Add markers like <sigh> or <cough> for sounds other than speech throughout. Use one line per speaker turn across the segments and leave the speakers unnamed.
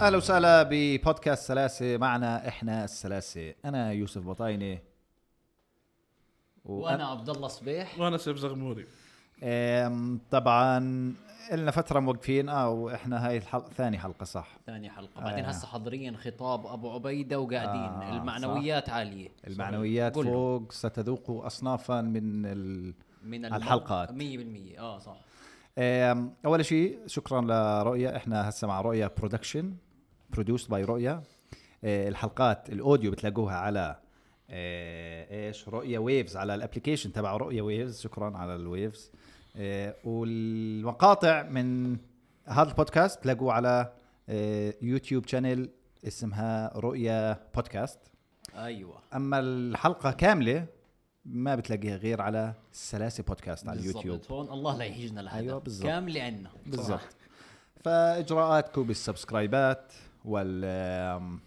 اهلا وسهلا ببودكاست سلاسه معنا احنا السلاسه انا يوسف بطاينه
وانا عبد الله صبيح
وانا سيف زغموري
أم، طبعا لنا فتره موقفين اه واحنا هاي الحلقه ثاني حلقه صح
ثاني حلقه بعدين
آه.
هسه حضريا خطاب ابو عبيده وقاعدين
آه،
المعنويات عاليه
المعنويات
قول له.
فوق ستذوقوا اصنافا من ال...
من
الحلقات.
100% اه صح
أم، اول شيء شكرا لرؤيا احنا هسه مع رؤيا برودكشن برودوسد باي رؤيا أه، الحلقات الاوديو بتلاقوها على أه، ايش رؤيا ويفز على الابلكيشن تبع رؤيا ويفز شكرا على الويفز أه، والمقاطع من هذا البودكاست تلاقوه على أه، يوتيوب شانل اسمها رؤيا بودكاست
ايوه
اما الحلقه كامله ما بتلاقيها غير على السلاسي بودكاست على
بالضبط.
اليوتيوب
هون الله لا يحيجنا لهذا
أيوة، بالضبط.
كامله عنا
بالضبط فاجراءاتكم بالسبسكرايبات وال آم،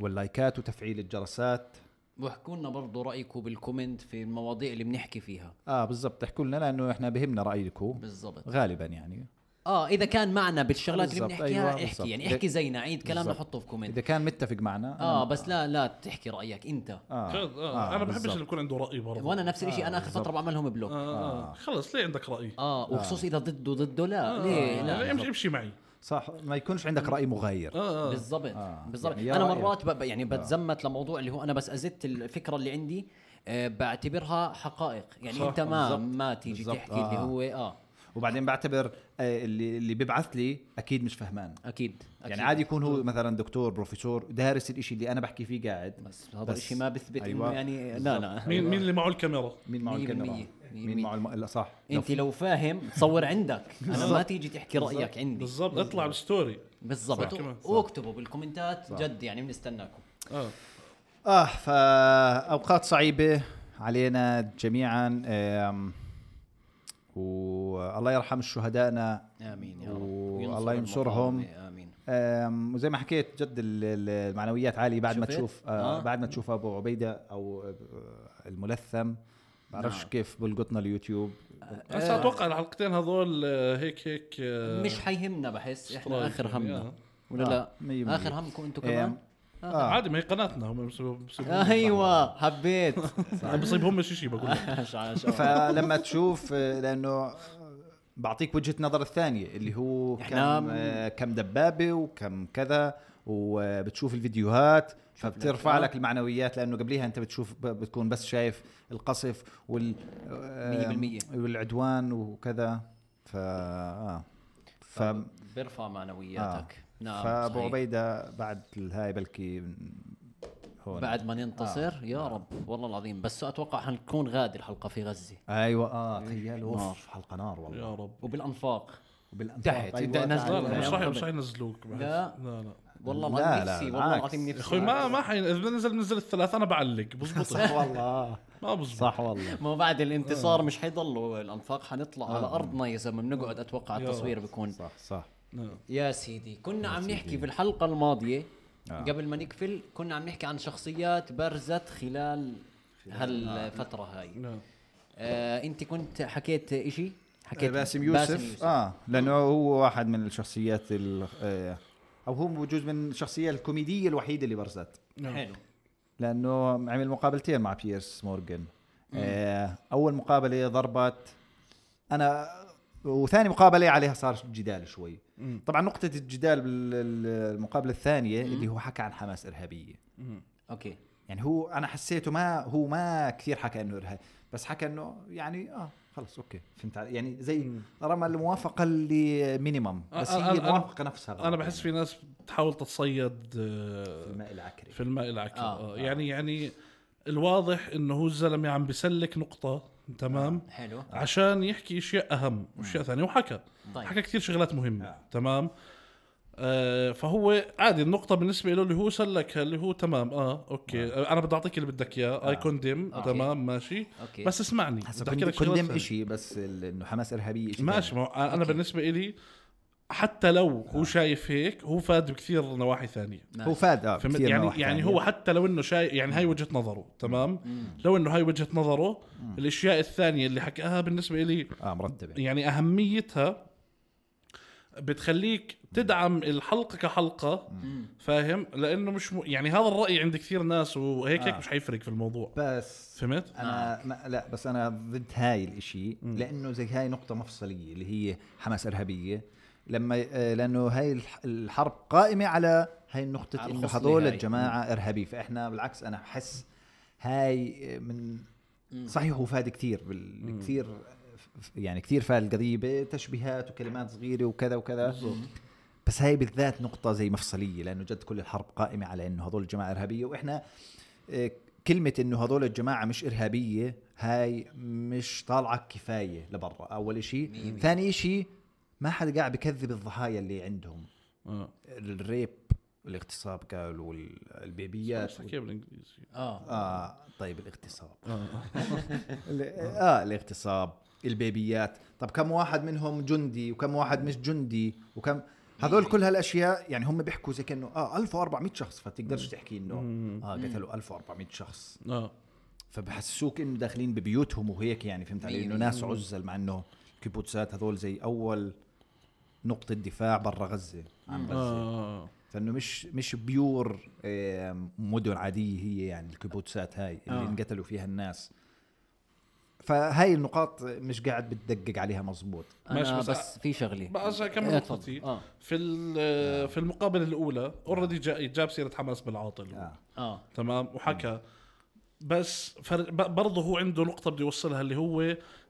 واللايكات وتفعيل الجرسات
واحكوا لنا برضه رايكم بالكومنت في المواضيع اللي بنحكي فيها
اه بالضبط تحكوا لنا لانه احنا بهمنا رايكم
بالضبط
غالبا يعني
اه اذا كان معنا بالشغلات اللي
بالضبط،
بنحكيها
أيوة،
احكي
بالضبط.
يعني احكي زينا عيد كلامنا
بالضبط.
حطه في كومنت
اذا كان متفق معنا
اه بس لا لا تحكي رايك انت
آه.
خلص، آه. انا بحبش
بالضبط.
اللي يكون عنده راي برضه
وانا نفس الشيء انا اخر فتره بعملهم بلوك
آه. آه. خلص ليه عندك آه، راي
اه
آه.
وخصوصي اذا ضده ضده لا ليه آه، لا
لا امشي امشي معي
صح ما يكونش عندك راي مغاير
اه آه.
بالضبط
آه.
بالضبط
يعني يا
انا
رأيك.
مرات ب... يعني بتزمت لموضوع اللي هو انا بس ازدت الفكره اللي عندي آه، بعتبرها حقائق يعني
صح،
انت ما
بالضبط.
ما تيجي
بالضبط.
تحكي اللي
آه.
هو اه
وبعدين بعتبر آه، اللي اللي بيبعث لي اكيد مش فهمان
اكيد, أكيد.
يعني عادي يكون هو مثلا دكتور بروفيسور دارس الإشي اللي انا بحكي فيه قاعد
بس هذا الشيء ما بثبت
أيوة.
انه يعني لا لا
مين مين اللي معه الكاميرا
مين معه
مية
الكاميرا
بالمية. مية
مين معه الم... لا صح لو
انت لو فاهم تصور عندك انا ما تيجي تحكي رايك عندي
بالضبط اطلع بالستوري
بالضبط
صح، كمان.
و- واكتبوا بالكومنتات جد يعني بنستناكم
اه
اه فاوقات صعيبه علينا جميعا آم، والله يرحم شهدائنا
امين يا رب
والله
وينصر
ينصرهم.
المقاومة. امين
آم، وزي ما حكيت جد ال- ال- المعنويات عاليه بعد ما
شفت؟
تشوف آه
آه.
بعد ما تشوف ابو عبيده او آه، الملثم بعرفش
نعم.
كيف بلقطنا اليوتيوب
هسه اتوقع الحلقتين هذول آه، هيك هيك آه،
مش حيهمنا بحس احنا
سترايك
اخر
يعني،
همنا
آه.
ولا
آه، مية
لا
بالمية.
اخر همكم انتم
إيه.
كمان
آه.
عادي ما هي قناتنا هم بيسووا- بيسووا-
ايوه <laughs> حبيت
ما بيصيبهم شيء شيء بقول لك
عش- عش- عش.
فلما تشوف آه، لانه بعطيك وجهه نظر الثانيه اللي هو
إحنا-
كم آه، كم دبابه وكم كذا وبتشوف الفيديوهات فبترفع
آه.
لك المعنويات لانه قبليها انت بتشوف ب- بتكون بس شايف القصف وال آه،
مية بالمية.
والعدوان وكذا ف آه. ف
بيرفع معنوياتك نعم
فابو
صحيح.
عبيده بعد الهاي بلكي هون
بعد ما ننتصر يا رب والله العظيم بس اتوقع حنكون غادي الحلقه في غزه
ايوه اه
إيه.
تخيل
نار.
اوف حلقه نار والله
يا رب
وبالانفاق
بالأنفاق.
نعم. تحت.
أيوة،
بدنا نزل-
لا
تعال.
لا مش راح مش
طبعاً.
راح ينزلوك بعد.
لا.
لا لا
والله
لا،
العظيم
لا،
نفسي والله
بالعكس.
العظيم نفسي
اخوي ما ما حين اذا بنزل نزل الثلاث انا بعلق
صح
بزبط
والله
ما بزبط
صح والله
ما بعد الانتصار مش حيضلوا الانفاق حنطلع على ارضنا يا زلمه بنقعد اتوقع
يا
التصوير بيكون
صح صح
آه.
يا سيدي كنا عم نحكي في الحلقة الماضية آه. قبل ما نقفل كنا عم نحكي عن شخصيات برزت خلال هالفترة هاي
آه.
آه انت كنت حكيت اشي حكيت
آه، باسم يوسف, اه لانه هو واحد من الشخصيات ال- آه، او هو بجوز من الشخصيه الكوميديه الوحيده اللي برزت
نعم.
حلو
لانه عمل مقابلتين مع بيرس مورغان آه اول مقابله ضربت انا وثاني مقابله عليها صار جدال شوي طبعا نقطه الجدال بالمقابله الثانيه اللي هو حكى عن حماس ارهابيه
اوكي
يعني هو انا حسيته ما هو ما كثير حكى انه ارهاب بس حكى انه يعني اه خلص اوكي فهمت علي؟ يعني زي رمى الموافقه اللي مينيمم بس
أ- أ-
هي
آه، أنا-
الموافقه نفسها غلط
انا بحس
يعني
في ناس بتحاول تتصيد
في
آه،
الماء العكري
في الماء العكر
آه،
آه. يعني يعني الواضح انه هو الزلمه عم بسلك نقطه تمام
حلو
عشان يحكي اشياء اهم واشياء ثانيه وحكى
آه. طيب.
حكى كثير شغلات مهمه تمام آه فهو عادي النقطة بالنسبة له اللي هو سلكها اللي هو تمام اه اوكي آه. انا بدي اعطيك اللي بدك اياه اي كوندم
آه. أوكي.
تمام ماشي
أوكي.
بس اسمعني
هسا
بدي أحكي لك
كنت
شغلات
كندم
ثانية.
شيء بس ال- انه حماس ارهابيه شيء
ماشي ما هو انا أنا بالنسبة إلي حتى لو
آه.
هو شايف هيك هو فاد بكثير نواحي ثانية
ثاني. هو فاد اه
فهمت
كثير
يعني
نواحي
يعني
ثانية.
هو حتى لو انه شايف يعني هاي وجهه نظره تمام لو انه هاي وجهه نظره آه،
آه، يعني.
الاشياء الثانيه اللي حكاها بالنسبه لي
اه مرتبه
يعني اهميتها بتخليك تدعم الحلقه كحلقه فاهم لانه مش م... يعني هذا الراي عند كثير ناس وهيك هيك
آه.
مش حيفرق في الموضوع
بس
فهمت
انا ما لا بس انا ضد هاي الاشي لانه زي هاي نقطه مفصليه اللي هي حماس ارهابيه لما آه، لانه هاي الح- الحرب قائمه على هاي النقطه
على
انه
الخصلة
هذول
هاي.
الجماعه ارهابي فاحنا بالعكس انا بحس هاي من صحيح هو فاد كثير بال... كثير يعني كثير فاد القضيه بتشبيهات وكلمات صغيره وكذا وكذا بس هاي بالذات نقطة زي مفصلية لأنه جد كل الحرب قائمة على إنه هذول الجماعة إرهابية وإحنا آه، كلمة إنه هذول الجماعة مش إرهابية هاي مش طالعة كفاية لبرا أول
مية
إشي
مية.
ثاني إشي ما حدا قاعد بكذب الضحايا اللي عندهم
اه
الريب والاغتصاب قالوا والبيبيات
حكيها بالانجليزي
اه
آه طيب الاغتصاب
<laughs>
آه.
ال- اه الاغتصاب البيبيات طب كم واحد منهم جندي وكم واحد مش جندي وكم هذول كل هالاشياء يعني هم بيحكوا زي كانه اه 1400 شخص فبتقدرش تحكي انه اه قتلوا 1400 شخص
اه
فبحسسوك انه داخلين ببيوتهم وهيك يعني فهمت علي انه ناس عزل مع انه الكيبوتسات هذول زي اول نقطة دفاع برا غزة عن
آه.
غزة
اه
فانه مش مش بيور آه، مدن عادية هي يعني الكيبوتسات هاي اللي
آه.
انقتلوا فيها الناس فهاي النقاط مش قاعد بتدقق عليها مزبوط
ماشي،
انا
بس-
بس, بس في شغله
بس اكمل
آه.
إيه، تفضل.
نقطتي
اه
في ال- في المقابله الاولى اوريدي جاب سيره حماس بالعاطل
آه.
اه
تمام وحكى بس فر... ب- برضه هو عنده نقطة بده يوصلها اللي هو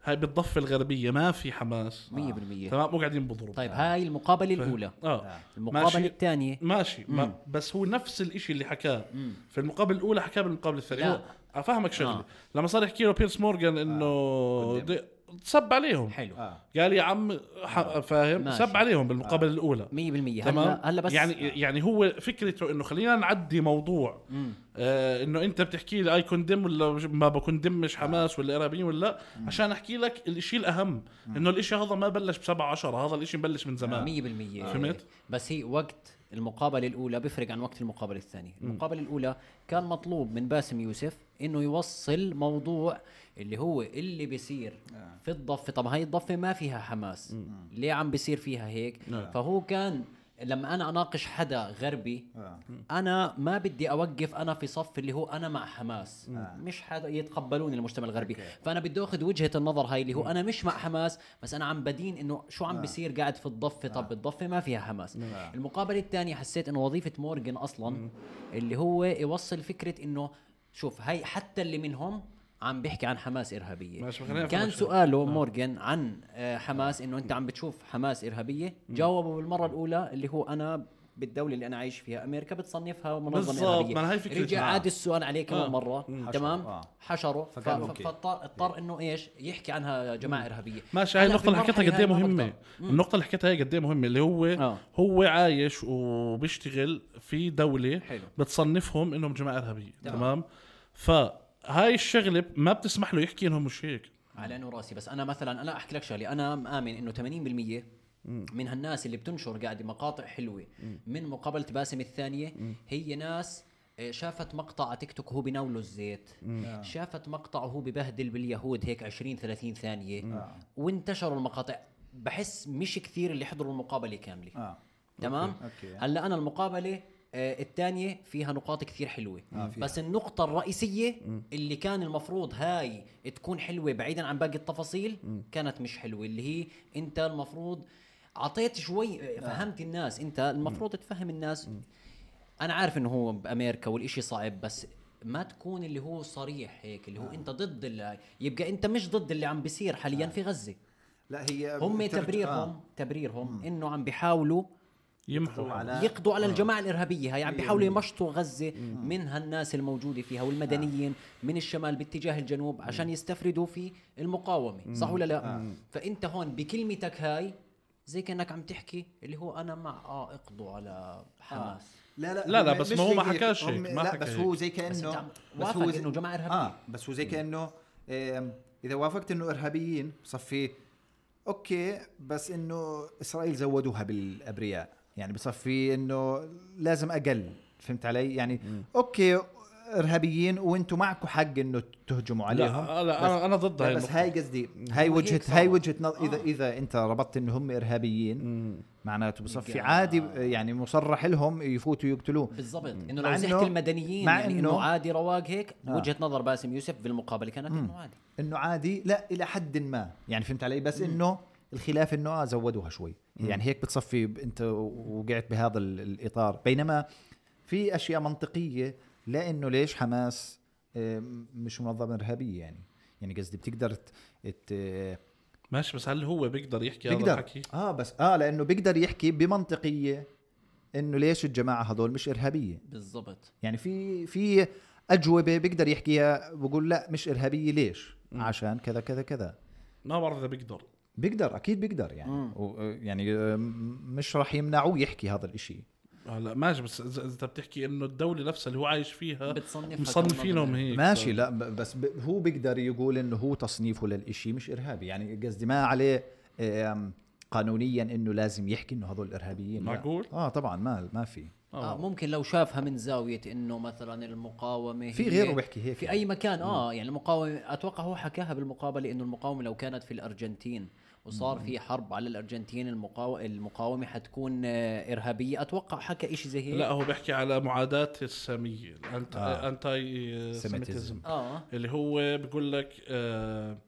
هاي بالضفة الغربية ما في حماس
100%
آه. تمام مو قاعدين بضربوا
طيب هاي المقابله الاولى
آه.
اه
المقابله الثانية
ماشي ما بس هو نفس الاشي اللي حكاه في المقابله الاولى حكاه بالمقابله الثانيه
لا.
هو- افهمك شغله
آه.
لما صار يحكي له بيرس مورغان انه
قدام.
دي- سب عليهم
حلو 100%
اه
قال يا عم ح... فاهم
ماشي. آه.
سب عليهم بالمقابله الاولى تمام
هلا هلا بس
يعني يعني هو فكرته انه خلينا نعدي موضوع آه انه انت بتحكي لي اي كوندم ولا مش- ما
آه.
بكوندمش حماس ولا ارهابيين ولا عشان احكي لك الشيء الاهم انه الشيء هذا ما بلش ب 7 10 هذا الشيء بلش من زمان آه.
100%
فهمت؟
آه، بس هي وقت المقابلة الأولى بيفرق عن وقت المقابلة الثانية، المقابلة الأولى كان مطلوب من باسم يوسف إنه يوصل موضوع اللي هو اللي بيصير
آه.
في الضفة، طب هاي الضفة ما فيها حماس، ليه عم بيصير فيها هيك؟
نعم.
فهو كان لما أنا أناقش حدا غربي
آه.
انا ما بدي اوقف انا في صف اللي هو انا مع حماس مش حدا يتقبلوني المجتمع الغربي فانا بدي اخذ وجهه النظر هاي اللي هو انا مش مع حماس بس انا عم بدين انه شو عم بيصير قاعد في الضفه طب الضفه ما فيها حماس المقابله الثانيه حسيت انه وظيفه مورجن اصلا اللي هو يوصل فكره انه شوف هاي حتى اللي منهم عم بيحكي عن حماس ارهابيه
ماشي، خلينا
كان
نفرق شوي.
سؤاله مورجان عن آه، حماس انه انت عم بتشوف حماس ارهابيه جاوبه بالمره الاولى اللي هو انا بالدوله اللي انا عايش فيها امريكا بتصنفها منظمه
بالضبط،
ارهابيه
ما أنا هاي فكرة.
رجع
آه.
عاد السؤال عليه كمان
آه.
مره تمام
آه.
حشره
فقال
ف-
أوكي.
فاضطر اضطر انه ايش يحكي عنها جماعه ارهابيه
ماشي هاي
هلا
النقطة اللي
بالمرحلة
حكيتها قد ايه
هاي ما
مهمة
بقدر.
النقطة اللي حكيتها هي قد ايه مهمة اللي هو
آه.
هو عايش وبيشتغل في دولة
حلو.
بتصنفهم انهم جماعة ارهابية تمام فهاي الشغلة ما بتسمح له يحكي انهم مش هيك
على انه راسي بس انا مثلا انا احكي لك شغله انا مآمن انه 80% من هالناس اللي بتنشر قاعده مقاطع حلوه من مقابله باسم الثانيه هي ناس آه، شافت مقطع على تيك توك هو بناوله الزيت شافت مقطع وهو ببهدل باليهود هيك 20 30 ثانيه وانتشروا المقاطع بحس مش كثير اللي حضروا المقابله كامله
اه
تمام
أوكي. أوكي.
هلا انا المقابله آه، الثانيه فيها نقاط كثير حلوه
آه، فيها.
بس النقطه الرئيسيه اللي كان المفروض هاي تكون حلوه بعيدا عن باقي التفاصيل كانت مش حلوه اللي هي انت المفروض اعطيت شوي آه، فهمت الناس انت المفروض تفهم الناس انا عارف انه هو بامريكا والإشي صعب بس ما تكون اللي هو صريح هيك
آه.
اللي هو انت ضد اللي يبقى انت مش ضد اللي عم بيصير حاليا في غزه
لا هي
هم
بترجع-
تبريرهم تبريرهم انه عم بيحاولوا
يمحوا
على-
يقضوا
آه.
على الجماعه الارهابيه هاي عم
مية
بيحاولوا
بالمية.
يمشطوا غزه من هالناس الموجوده فيها والمدنيين
آه.
من الشمال باتجاه الجنوب عشان يستفردوا في المقاومه صح ولا لا
آه.
فانت هون بكلمتك هاي زي كانك عم تحكي اللي هو انا مع اه اقضوا على
آه.
حماس
لا لا
لا، لا،
هم
بس
مش
ما هو
زي
ما حكاش هيك،
هم-
ما
لا
حكى
بس
هيك.
هو زي
بس انت عم
كانه
وافق
هو زي-
انه جماعه ارهابيه
اه بس هو زي كانه آم، اذا وافقت انه ارهابيين بصفي اوكي بس انه اسرائيل زودوها بالابرياء يعني بصفي انه لازم اقل فهمت علي يعني اوكي ارهابيين وانتم معكم حق انه تهجموا عليهم
لا لا أنا- انا ضد
لا
هاي
بس
النقطة
هاي قصدي هاي
هو
وجهه
هيك
هاي
صار. آه.
وجهه نظر اذا اذا انت ربطت انه هم ارهابيين معناته بصفي
يا-
عادي يعني مصرح لهم يفوتوا يقتلوه
بالضبط انه
مع
لو زحت
إنه-
المدنيين
مع
يعني انه,
إنه-
عادي رواق هيك
آه.
وجهه نظر باسم يوسف بالمقابله كانت انه عادي
انه عادي لا الى حد ما يعني فهمت علي بس انه الخلاف انه آه زودوها شوي يعني هيك بتصفي ب- انت وقعت بهذا ال- الاطار بينما في اشياء منطقيه لانه ليش حماس آه، مش منظمه ارهابيه يعني يعني قصدي بتقدر ت- ت- آه،
ماشي بس هل هو بيقدر يحكي هذا
بيقدر
الحكي؟
اه بس اه لانه بيقدر يحكي بمنطقيه انه ليش الجماعه هذول مش ارهابيه
بالضبط
يعني في في اجوبه بيقدر يحكيها بقول لا مش ارهابيه ليش عشان كذا كذا كذا
ما بعرف اذا بيقدر
بيقدر اكيد بيقدر يعني
مم.
و يعني آه، م- مش راح يمنعوه يحكي هذا الاشي
هلا آه، ماشي بس اذا إذا انت بتحكي انه الدوله نفسها اللي هو عايش فيها
بتصنفها
مصنفينهم
كمنظمة.
هيك
ماشي لا ب- بس ب- هو بيقدر يقول انه هو تصنيفه للاشي مش ارهابي يعني قصدي ما عليه آم، قانونيا انه لازم يحكي انه هذول ارهابيين لا.
معقول؟
اه طبعا ما ما في
آه.
آه ممكن لو شافها من زاويه انه مثلا المقاومه
في
هي-
غيره بيحكي هيك
في اي مكان اه يعني المقاومه اتوقع هو حكاها بالمقابله انه المقاومه لو كانت في الارجنتين وصار في حرب على الارجنتين المقاو... المقاومه حتكون آه، ارهابيه اتوقع حكى إشي زي هيك
لا هو بيحكي على معاداة السامية الانت...
آه.
آه. انتاي
سيميتيزم.
سيميتيزم
اه
اللي هو بقول لك آه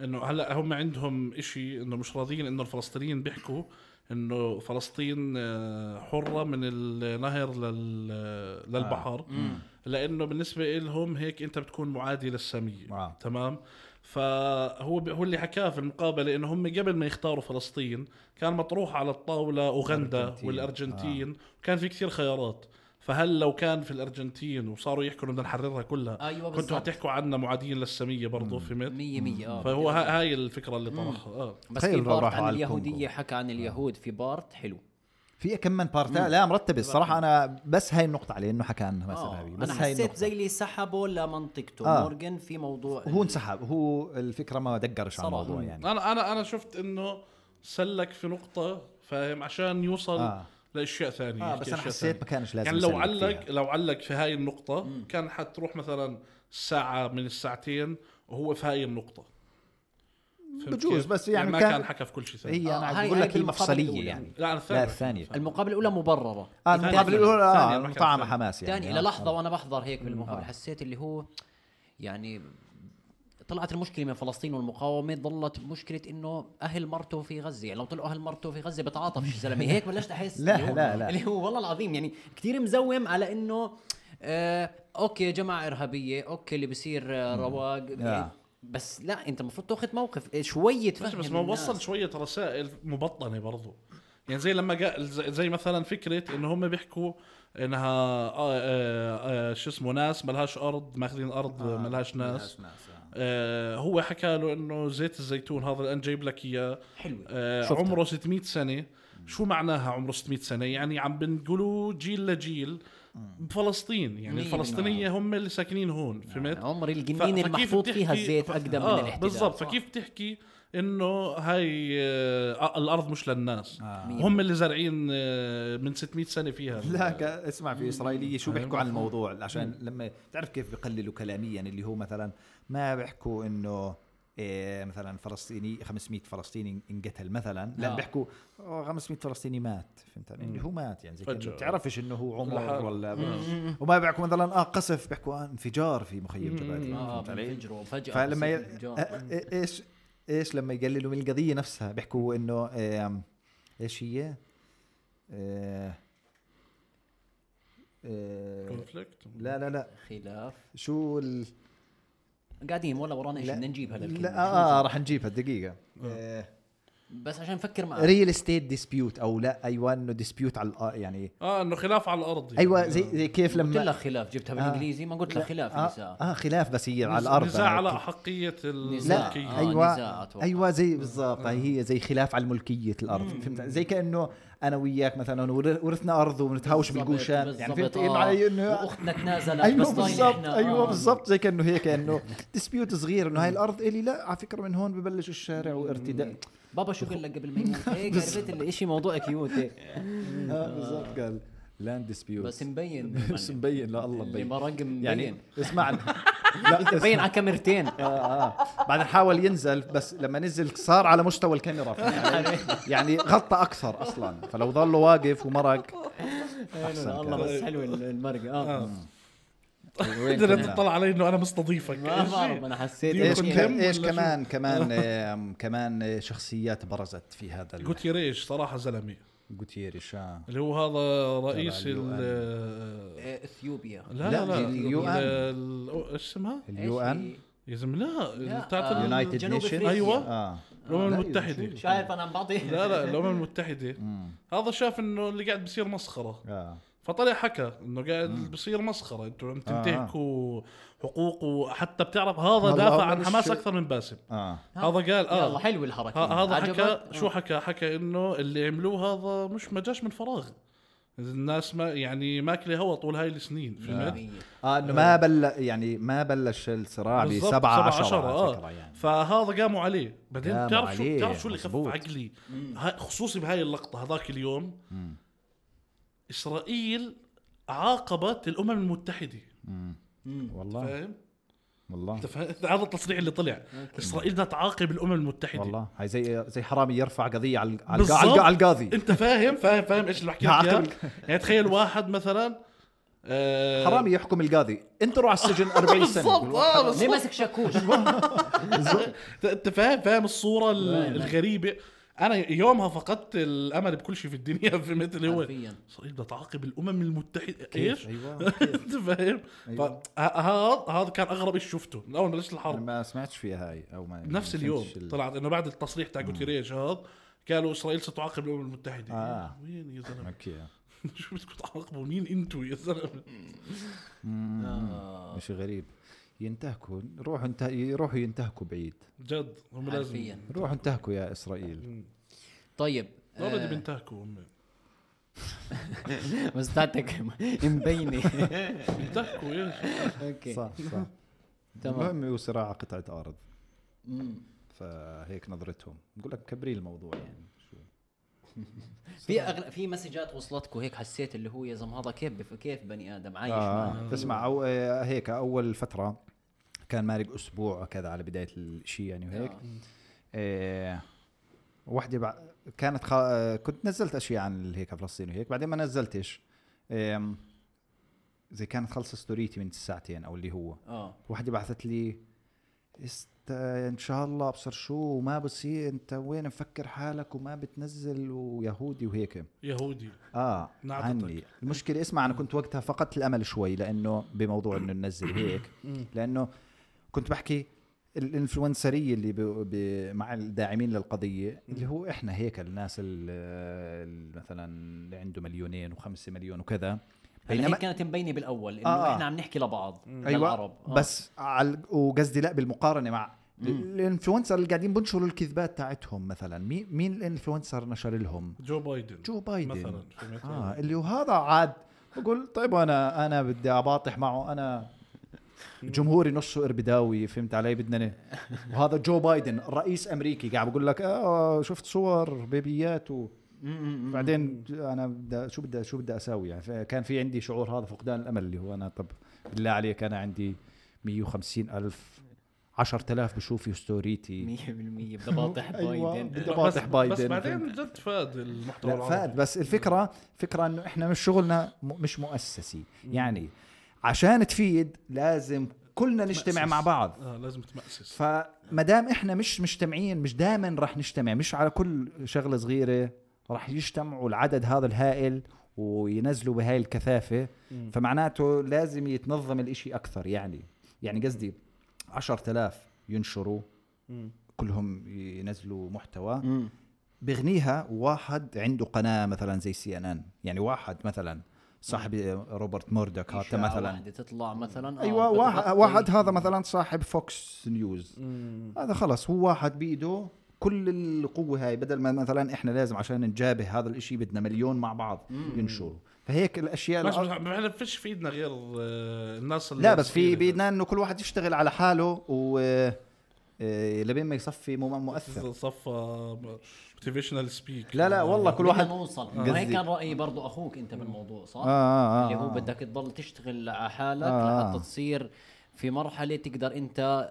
انه هلا هم عندهم إشي انه مش راضيين انه الفلسطينيين بيحكوا انه فلسطين آه، حرة من النهر لل...
آه.
للبحر
مم.
لانه بالنسبة لهم هيك انت بتكون معادي للسامية
آه.
تمام فهو ب- هو اللي حكاه في المقابله انه هم قبل ما يختاروا فلسطين كان مطروح على الطاوله اوغندا
الأرجنتين. نعم.
والارجنتين وكان في كثير خيارات فهل لو كان في الارجنتين وصاروا يحكوا إنه بدنا نحررها كلها
ايوه بالضبط
كنتوا هتحكوا عنا معادين للساميه برضه
نعم.
فهمت
100% اه
فهو ه- هاي الفكره اللي طرحها اه
بس
تخيل
في
لو
بارت
راحوا
عن
على
اليهوديه
الكونغو.
حكى
آه.
عن اليهود في بارت حلو
في كم من بارتات لا مرتبه الصراحه انا بس هاي النقطه عليه انه حكى عنها بس
آه.
ارهابي بس
انا
هاي
حسيت
النقطه
زي اللي سحبه لمنطقته
آه.
آه. مورجان في موضوع
هو انسحب هو الفكره ما دقرش على
صراحة.
الموضوع يعني
انا انا انا شفت انه سلك في نقطه فاهم عشان يوصل
آه.
آه. لاشياء ثانيه
اه
يحكي
بس انا
أشياء
حسيت
ثانية.
ما كانش لازم
كان يعني لو
يسلك
علق
فيها.
لو علق في هاي النقطة كان حتروح مثلا ساعة من الساعتين وهو في هاي النقطة فهمت
بجوز،
كيف؟
بس يعني
ما
كان-
كان, حكى في كل شيء ثاني
هي
آه،
انا
هاي-
بقول
هاي
لك هي
بالمقابلة
مافصليه
الأولى.
يعني
لا أنا
لا
الثانية
الثانية
المقابله الاولى مبرره
اه
الثانية.
المقابلة الأولى
الثانية
اه
ما كان
المقطع مع
الثانية.
حماس يعني
ثاني
آه.
للحظه وانا بحضر هيك بالمقابله
آه.
حسيت اللي هو يعني طلعت المشكله من فلسطين والمقاومه ظلت مشكله انه اهل مرته في غزه يعني لو طلعوا اهل مرته في غزه بتعاطف يا زلمه هيك بلشت
<laughs>
احس
لا،
اللي هو-
لا، لا.
اللي هو والله العظيم يعني كثير مزوم على انه آه اوكي جماعه ارهابيه اوكي اللي بصير آه، رواق يعني بس لا انت المفروض تاخذ موقف إيه، شويه
ماشي
فهم
بس ما
الناس.
وصل شوية رسائل مبطنة برضو يعني زي لما قال زي زي مثلا فكرة انه هم بيحكوا انها آه آه آه شو اسمه ناس ملهاش ارض ماخذين ارض آه ملهاش ناس آه هو حكى له انه زيت الزيتون هذا الان جايب لك اياه
حلوه
آه،
شفتها.
عمره 600 سنه شو معناها عمره 600 سنه يعني عم بنقولوا جيل لجيل بفلسطين يعني
مية
الفلسطينيه هم اللي ساكنين هون فهمت
عمري
ف-
الجنينه
فكيف
المحفوظ
بتحكي-
فيها الزيت
ف-
اقدم من
آه،
الاحتلال
بالضبط
صح.
فكيف تحكي انه هاي آه، الارض مش للناس
مية
هم اللي زارعين آه، من 600 سنه فيها
<laughs> لا ك- اسمع في اسرائيليه شو بيحكوا عن الموضوع عشان لما تعرف كيف بقللوا كلاميا اللي هو مثلا ما بيحكوا انه إيه مثلا فلسطيني 500 فلسطيني انقتل مثلا لا
آه.
بيحكوا آه، 500 فلسطيني مات فهمت علي؟ اللي هو مات يعني زي كأنه
فجأة.
بتعرفش انه هو عمر
لحاله.
ولا وما بيحكوا مثلا اه قصف بيحكوا آه انفجار في مخيم جباليا
اه
آه، فهمت علي؟
بينفجروا فجاه
فلما ي... أه.
بصير انفجار.
أ- ايش ايش لما يقللوا من القضيه نفسها بيحكوا انه آم، ايش هي؟ آه، آه،
كونفليكت
لا لا لا
خلاف
شو ال...
قاعدين ولا ورانا ايش
لا.
بدنا نجيب هلا الكلمة. آه.
لا اه راح نجيبها آه، دقيقه
بس عشان نفكر معك
ريل استيت ديسبيوت او لا ايوه انه ديسبيوت على الأ- يعني
اه انه خلاف على الارض يعني.
أيوة،
ايوه زي, زي كيف
قلت لك
لما
خلاف جبتها
آه.
بالانجليزي ما قلت لك خلاف
آه,
نساء
اه خلاف بس هي على
نز-
الارض
نزاع
أنا
على
كيف-
احقيه
نزاع.
الملكيه
لا
آه، نزاع
ايوه
أتوقع.
ايوه زي بالضبط هي زي خلاف على ملكيه الارض فهمت زي كانه انا وياك مثلا ور- ورثنا ارض ونتهاوش بالقوشان يعني فهمت
بالضبط،
إيه
آه.
معي انه
واختنا تنازلت
ايوه
بس ضايل
بالضبط
إحنا،
ايوه
آه.
بالضبط زي كانه هيك انه ديسبيوت صغير انه هاي الارض الي لا على فكره من هون ببلش الشارع وارتداء
بابا شو قال لك قبل ما يموت إيه، هيك عرفت الاشي موضوع كيوت
<laughs>
هيك
آه، بالضبط قال لاند ديسبيوت
بس مبين
بس <laughs> مبين لا الله
اللي
مبين
مرق مبين <laughs>
يعني اسمع لا
بين على
<laughs>
كاميرتين
آه آه. بعدين حاول ينزل بس لما نزل صار على مستوى
<laughs>
الكاميرا يعني غطى اكثر اصلا فلو ظل واقف ومرق أحسن
الله
كان.
بس حلوه المرقه
آه.
اه
<laughs> وين
قدرت
كنا؟
تطلع علي انه انا مستضيفك
ما
إيش
بعرف
في؟
انا حسيت
ديو
ايش
ايش
كنت
كان-
كمان
ولا
ايش
شو؟ <laughs>
كمان كمان آم، كمان آه، شخصيات برزت في هذا ال-
جوتيريش صراحه زلمه
جوتيريش آه.
اللي هو هذا رئيس
تبع اليو
ال
آه، اثيوبيا
لا،
لا لا لا
اليو
ال-
إن.
ال- ايش اسمها؟
اليو ان
يا زلمه لا
لا،
بتاعت
آه،
ال-
United
جنوب
Nations.
أفريقيا.
أيوة.
اه
الامم
لا،
المتحده
مش عارف انا عم بعطي <laughs>
لا لا الامم المتحده
مم.
هذا شاف انه اللي قاعد بصير مسخره
اه
فطلع حكى انه قاعد بصير مسخره انتم عم
آه.
تنتهكوا حقوق وحتى بتعرف هذا
والله
دافع
والله
عن
مش-
حماس اكثر من باسم
اه
هذا قال
يلا
اه
حلوه الحركه
ه- هذا حكى
إيه. عجبك؟ آه.
شو حكى حكى انه اللي عملوه هذا مش ما جاش من فراغ الناس ما يعني ماكله هوا طول هاي السنين فهمت
مية.
اه انه ما بل يعني ما بلش الصراع ب
آه. بالضبط،
7
سبعة
10
آه.
على فكره يعني
فهذا قاموا عليه بعدين
قاموا
بتعرف شو
عليه،
بتعرف شو اللي خفف
مظبوط.
عقلي ها- خصوصي بهاي اللقطه هذاك اليوم
مم.
اسرائيل عاقبت الامم المتحده
مم.
مم.
والله
فاهم
والله
أنت فاهم؟ هذا التصريح اللي طلع اسرائيل بدها تعاقب الامم المتحده
والله هاي زي زي حرامي يرفع قضيه على على
بالضبط.
القا- على القاضي
انت فاهم فاهم فاهم ايش اللي بحكي
نعم.
لك إياه؟ يعني تخيل واحد مثلا آه،
حرامي يحكم القاضي انت روح على السجن <laughs> 40 سنه
بالضبط اه بالضبط
نعم.
ليه ماسك
<laughs>
شاكوش
انت- انت فاهم فاهم الصوره ال-
لا، لا.
الغريبه انا يومها فقدت الامل بكل شيء في الدنيا فهمت اللي هو
حرفياً.
اسرائيل بدها تعاقب الامم المتحده ايش؟ <laughs>
ايوه
انت فاهم؟
أيوة.
فهذا هذا كان اغرب شيء شفته من اول ما بلشت
انا
الحرب
ما سمعتش فيها هاي او ما
نفس
ما
اليوم
فهمتش ال-
طلعت انه بعد التصريح تاع جوتيريش هذا قالوا اسرائيل ستعاقب الامم المتحده
آه.
وين يا زلمه
اوكي
<laughs> شو بدكم تعاقبوا مين انتوا يا زلمه
آه،
مش غريب ينتهكوا روحوا انت يروحوا ينتهكوا بعيد
جد هم
حرفياً.
لازم
روحوا انتهكوا يا اسرائيل
طيب
اوريدي
آه.
بينتهكوا هم
بس <laughs> تاعتك
<laughs>
مبينه
بينتهكوا ايش
اوكي
صح صح
تمام
المهم هو صراع قطعه ارض
مم.
فهيك نظرتهم بقول لك مكبرين الموضوع يعني شو
في أغل... في مسجات وصلتكم هيك حسيت اللي هو يا زلمه هذا كيف بف... كيف بني ادم عايش معنا.
آه تسمع أو آه، هيك أول فترة كان مارق أسبوع كذا على بداية الشيء يعني وهيك
آه.
آه وحدة بع... كانت خ... آه، كنت نزلت أشياء عن ال- هيك فلسطين وهيك بعدين ما نزلتش آم، زي كانت خلص ستوريتي من ساعتين أو اللي هو
اه
وحدة بعثت لي است... ان شاء الله ابصر شو وما بصير انت وين مفكر حالك وما بتنزل ويهودي وهيك
يهودي
اه
نعطتك.
عني المشكله اسمع انا كنت وقتها فقدت الامل شوي لانه بموضوع انه ننزل هيك لانه كنت بحكي الانفلونسريه اللي ب... ب... مع الداعمين للقضيه اللي هو احنا هيك الناس ال- ال- مثلا اللي عنده مليونين وخمسة مليون وكذا
بينما
بينما
كانت مبينه بالاول انه
آه.
احنا عم نحكي لبعض للعرب.
ايوه
آه.
بس على وقصدي لا بالمقارنه مع الانفلونسر اللي قاعدين بنشروا الكذبات تاعتهم مثلا مين مين الانفلونسر نشر لهم
جو بايدن
جو بايدن
مثلا فهمت؟
اه اللي وهذا عاد بقول طيب انا انا بدي اباطح معه انا جمهوري نصه اربداوي فهمت علي بدنا ن- وهذا جو بايدن رئيس امريكي قاعد بقول لك اه شفت صور بيبيات و- بعدين انا بدي شو بدي شو بدي اساوي يعني فكان في عندي شعور هذا فقدان الامل اللي هو انا طب بالله عليك انا عندي 150 الف 10000 بشوفوا ستوريتي
100% بدي
<laughs>
باطح
أيوة.
بايدن
بدي
بس
باطح بايدن
بس بعدين
فهمت.
جد فاد المحتوى
لا
العربي
فاد بس الفكره فكره انه احنا مش شغلنا م- مش مؤسسي يعني عشان تفيد لازم كلنا نجتمع
مؤسس.
مع بعض
اه لازم تمأسس
فما دام احنا مش مجتمعين مش دائما رح نجتمع مش على كل شغله صغيره رح يجتمعوا العدد هذا الهائل وينزلوا بهاي الكثافه فمعناته لازم يتنظم الإشي اكثر يعني يعني قصدي 10000 ينشروا كلهم ينزلوا محتوى بغنيها واحد عنده قناه مثلا زي سي ان ان يعني واحد مثلا صاحب روبرت موردك هذا
إشاعة
مثلا
واحدة تطلع مثلا آه،
ايوه واحد,
بتغطي-
واحد هذا مثلا صاحب فوكس نيوز هذا خلص هو واحد بايده كل القوه هاي بدل ما مثلا احنا لازم عشان نجابه هذا الاشي بدنا مليون مع بعض ينشروا فهيك الاشياء
بس
الأ-
ما فيش في ايدنا غير آه، الناس
لا بس في
الصغيرة.
بايدنا انه كل واحد يشتغل على حاله و آه، لبين ما يصفي مو- مؤثر
صفى موتيفيشنال سبيك
لا لا والله كل
بدنا
واحد
نوصل
قصدي.
وهيك كان رايي برضو اخوك انت بالموضوع صح
آه، آه، آه،
اللي
آه.
هو بدك تضل تشتغل على حالك
آه، آه.
لحتى تصير في مرحله تقدر انت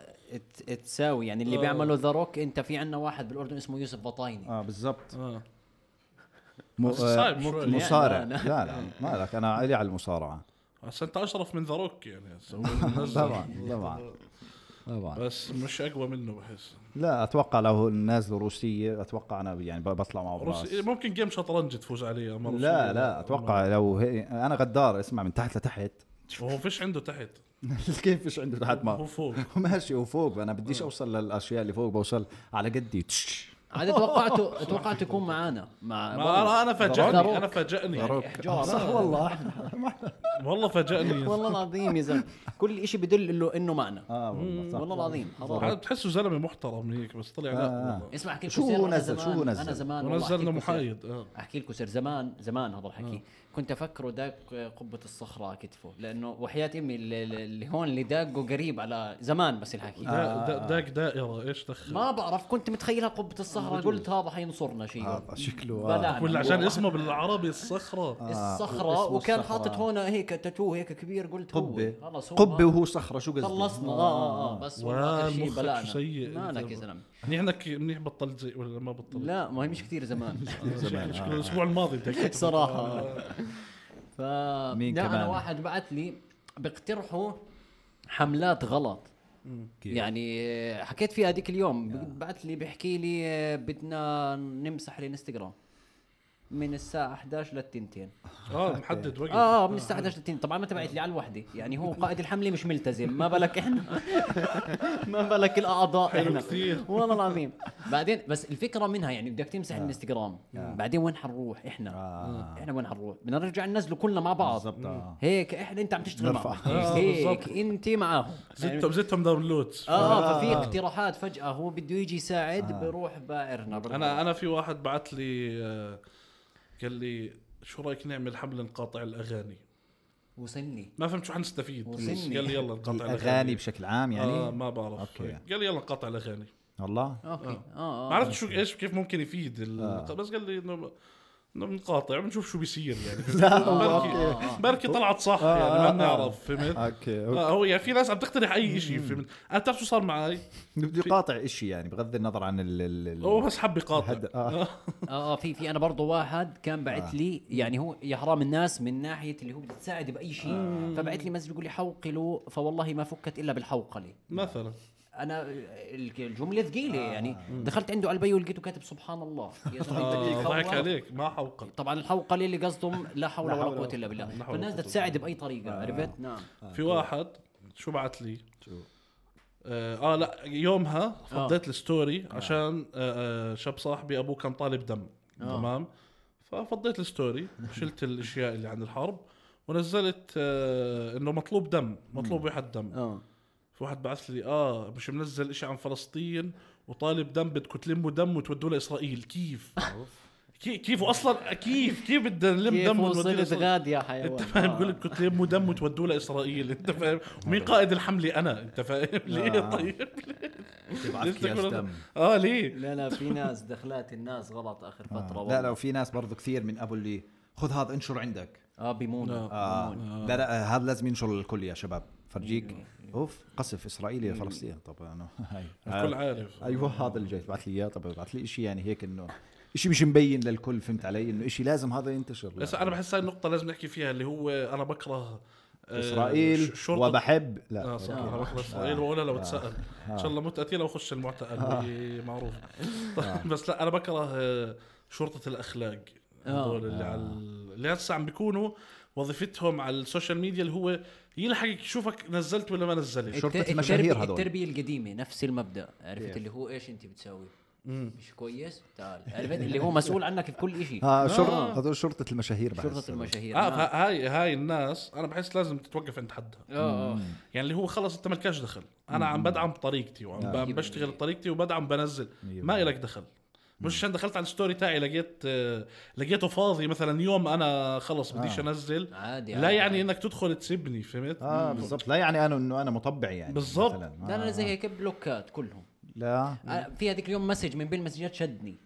ت- تساوي يعني
آه.
اللي بيعمله ذا روك انت في عندنا واحد بالاردن اسمه يوسف بطايني
اه بالضبط
آه.
م-
بس
آه،
صعب
م-
شوي.
مصارع
يعني
لا
أنا-
لا مالك انا علي على المصارعه
بس انت اشرف من ذا روك يعني
<laughs>
هسه. هو
طبعا طبعا طبعا
بس مش اقوى منه بحس
لا اتوقع لو نازله روسيه اتوقع انا يعني ب- بطلع معه براس.
روسي ممكن جيم شطرنج تفوز عليه مرة
لا
روسية.
لا اتوقع لو هي انا غدار اسمع من تحت لتحت <laughs>
وهو فيش عنده تحت
كيف فيش عنده تحت
هو
ما <laughs>
فوق آه.
ماشي وفوق انا بديش اوصل للاشياء اللي فوق بوصل على قدي تش. <laughs>
عاد توقعته توقعته يكون معانا مع
ما انا انا
ذا
فاجأني
روك.
انا فاجأني
ضروك.
<laughs> إحجار.
آه،
آه.
صح والله احنا
والله
<laughs>
فاجأني
والله العظيم يا زلمه كل شيء بدل انه انه معنا
اه والله صح.
والله العظيم حرام
عاد بتحسه زلمه محترم هيك بس طلع لا
آه.
والله.
اسمع احكي لكم
شو
سر،
هو
أنا
نزل؟
زمان-
شو هو نزل؟
انا زمان والله أحكي
ونزلنا
لكم سر.
محايد اه
احكي لكم سر زمان زمان هذا الحكي
آه.
كنت افكره داق قبه الصخره على كتفه لانه وحياه امي اللي- اللي هون اللي داقه قريب على زمان بس الحكي
آه.
دا- دا- داك دائره ايش دخل
ما بعرف كنت متخيلها قبه الصخره قلت هذا حينصرنا شيء
هذا شكله آه.
بلعنا.
ولا عشان
والله.
اسمه بالعربي الصخره
الصخره
اسمه
وكان
الصخرة.
حاطط هون هيك تاتو هيك كبير قلت هو
قبه
خلص هو
قبه
هذا.
وهو صخره شو قصدي آه،
خلصنا اه اه اه بس والله آخر شيء
والمخك
بلعنا
سيء.
مالك يا زلمه
منيح انك منيح بطلت زي ولا ما آه، بطلت
لا ما هي مش كثير
<laughs>
زمان
شكله
آه.
شكله الاسبوع الماضي
<laughs>
انت
صراحه ف
مين
لا، انا
كمان؟
واحد بعت لي بيقترحوا حملات غلط
كيف؟
يعني حكيت فيها هذيك اليوم بعت لي بيحكي لي آه، بدنا نمسح الانستغرام من الساعة 11 للتنتين
اه محدد وقت
اه آه، من الساعة 11 للتنتين طبعا ما تبعت لي على الوحدة يعني هو قائد الحملة مش ملتزم ما بالك احنا ما بالك الاعضاء
حلو
احنا
كثير.
والله العظيم بعدين بس الفكرة منها يعني بدك تمسح الانستغرام بعدين وين حنروح احنا
آه.
احنا وين حنروح بدنا نرجع ننزله كلنا مع بعض
بالضبط آه.
هيك احنا انت عم تشتغل
نرفع.
معهم
آه،
هيك
بالضبط.
انت معاهم
زدتهم زدتهم داونلودز
اه ففي اقتراحات فجاه هو بده يجي يساعد بروح بائرنا
انا انا في واحد بعت لي آه، قال لي شو رايك نعمل حمله نقاطع الاغاني
وصلني
ما فهمت شو حنستفيد
وصلني.
قال لي يلا نقاطع
الاغاني بشكل عام يعني
آه ما بعرف
أوكي.
قال لي يلا نقاطع الاغاني
والله
اوكي
آه،
ما
اه اه
عرفت شو ايش كيف ممكن يفيد ال... طيب، بس قال لي انه انه بنقاطع بنشوف شو بيصير
<laughs>
يعني
لا
بركي بركي طلعت صح
آه،
يعني
آه، آه.
ما بنعرف فهمت
اوكي أوكي.
آه، هو يعني في ناس عم تقترح اي شيء فهمت انا بتعرف شو صار معي
بده يقاطع شيء يعني بغض النظر عن ال ال- ال-
هو بس حب يقاطع
هد- آه.
اه آه، في في انا برضه واحد كان بعت لي يعني هو يا حرام الناس من ناحيه اللي هو بده تساعد باي شيء فبعت لي مسج يقول لي حوقلوا فوالله ما فكت الا بالحوقله
مثلا
انا الك- الجمله ثقيله يعني دخلت عنده على البي ولقيته كاتب سبحان الله يا زلمه
آه،
أنت
ضحك
بتخوف.
عليك ما حوقل
طبعا الحوقله اللي قصدهم لا حول ولا
حول ولا
قوه الا بالله
حول ولا
فالناس بدها
قوة.
تساعد باي طريقه عرفت نعم
في واحد شو بعت لي
شو؟
اه آه، لا يومها فضيت الستوري عشان آه آه، شاب صاحبي ابوه كان طالب دم تمام ففضيت الستوري شلت الاشياء اللي عن الحرب ونزلت آه انه مطلوب دم مطلوب واحد دم
اه
في واحد بعث لي اه مش منزل اشي عن فلسطين وطالب دم بدكم تلموا دم وتودوه لاسرائيل كيف كي- كيف اصلا كيف كيف بدنا نلم
كيف
دم ونوديه
وصلت
لإسرائيل؟
غاد يا حيوان
انت فاهم بقول لك كنت لموا دم وتودوه لاسرائيل انت فاهم ومين قائد الحمله انا انت فاهم ليه طيب
تبعث
<laughs>
أكياس
تقول-
دم
اه ليه
لا لا في ناس دخلات الناس غلط اخر فتره
لا لا وفي ناس برضو كثير من ابو اللي خذ هذا انشر عندك
اه بيمون
آه. لا لا هذا لازم ينشر الكل يا شباب فرجيك
إيه،
اوف قصف اسرائيلي لفلسطين طب انا <laughs> هاي
الكل
آه.
عارف
ايوه هذا اللي جاي تبعث لي اياه طب ابعث لي شيء يعني هيك انه شيء مش مبين للكل فهمت علي انه شيء لازم هذا ينتشر
بس
لا.
انا بحس هاي النقطه لازم نحكي فيها اللي هو انا بكره آه،
اسرائيل
ش- شرطه
وبحب لا
اه صح
أوكي.
آه.
انا بكره اسرائيل واقولها لو اتسال ان شاء الله مت قتيله وخش المعتقل
آه.
هي معروفه طيب، <laughs> بس لا انا بكره آه، شرطه الاخلاق
آه.
هذول اللي على ال- اللي هسه عم بيكونوا وظيفتهم على السوشيال ميديا اللي هو يلحقك يشوفك نزلت ولا ما نزلت
شرطة
الت-
المشاهير
التربية-
هذول.
التربيه القديمه نفس المبدا عرفت
كيف؟
اللي هو ايش انت بتسوي مش كويس تعال عرفت اللي هو مسؤول عنك بكل
<laughs>
شيء
اه شرطه هذول شرطه المشاهير بحس
شرطه المشاهير
اه
نعم.
فه- هاي هاي الناس انا بحس لازم تتوقف عند حدها
اه اه
يعني اللي هو خلص انت مالكاش دخل انا عم بدعم طريقتي وعم
نعم.
ب- بشتغل بطريقتي وبدعم بنزل
مية
ما
بالمية.
إلك دخل مش عشان دخلت على الستوري تاعي لقيت آه، لقيته فاضي مثلا يوم انا خلص
آه.
بديش انزل
عادي
لا
عادي.
يعني انك تدخل تسبني فهمت
اه بالضبط لا يعني انا انه انا مطبع يعني
بالضبط.
مثلاً. آه.
لا انا زي هيك آه، بلوكات كلهم
لا
أنا في هذيك اليوم مسج من بين المسجات شدني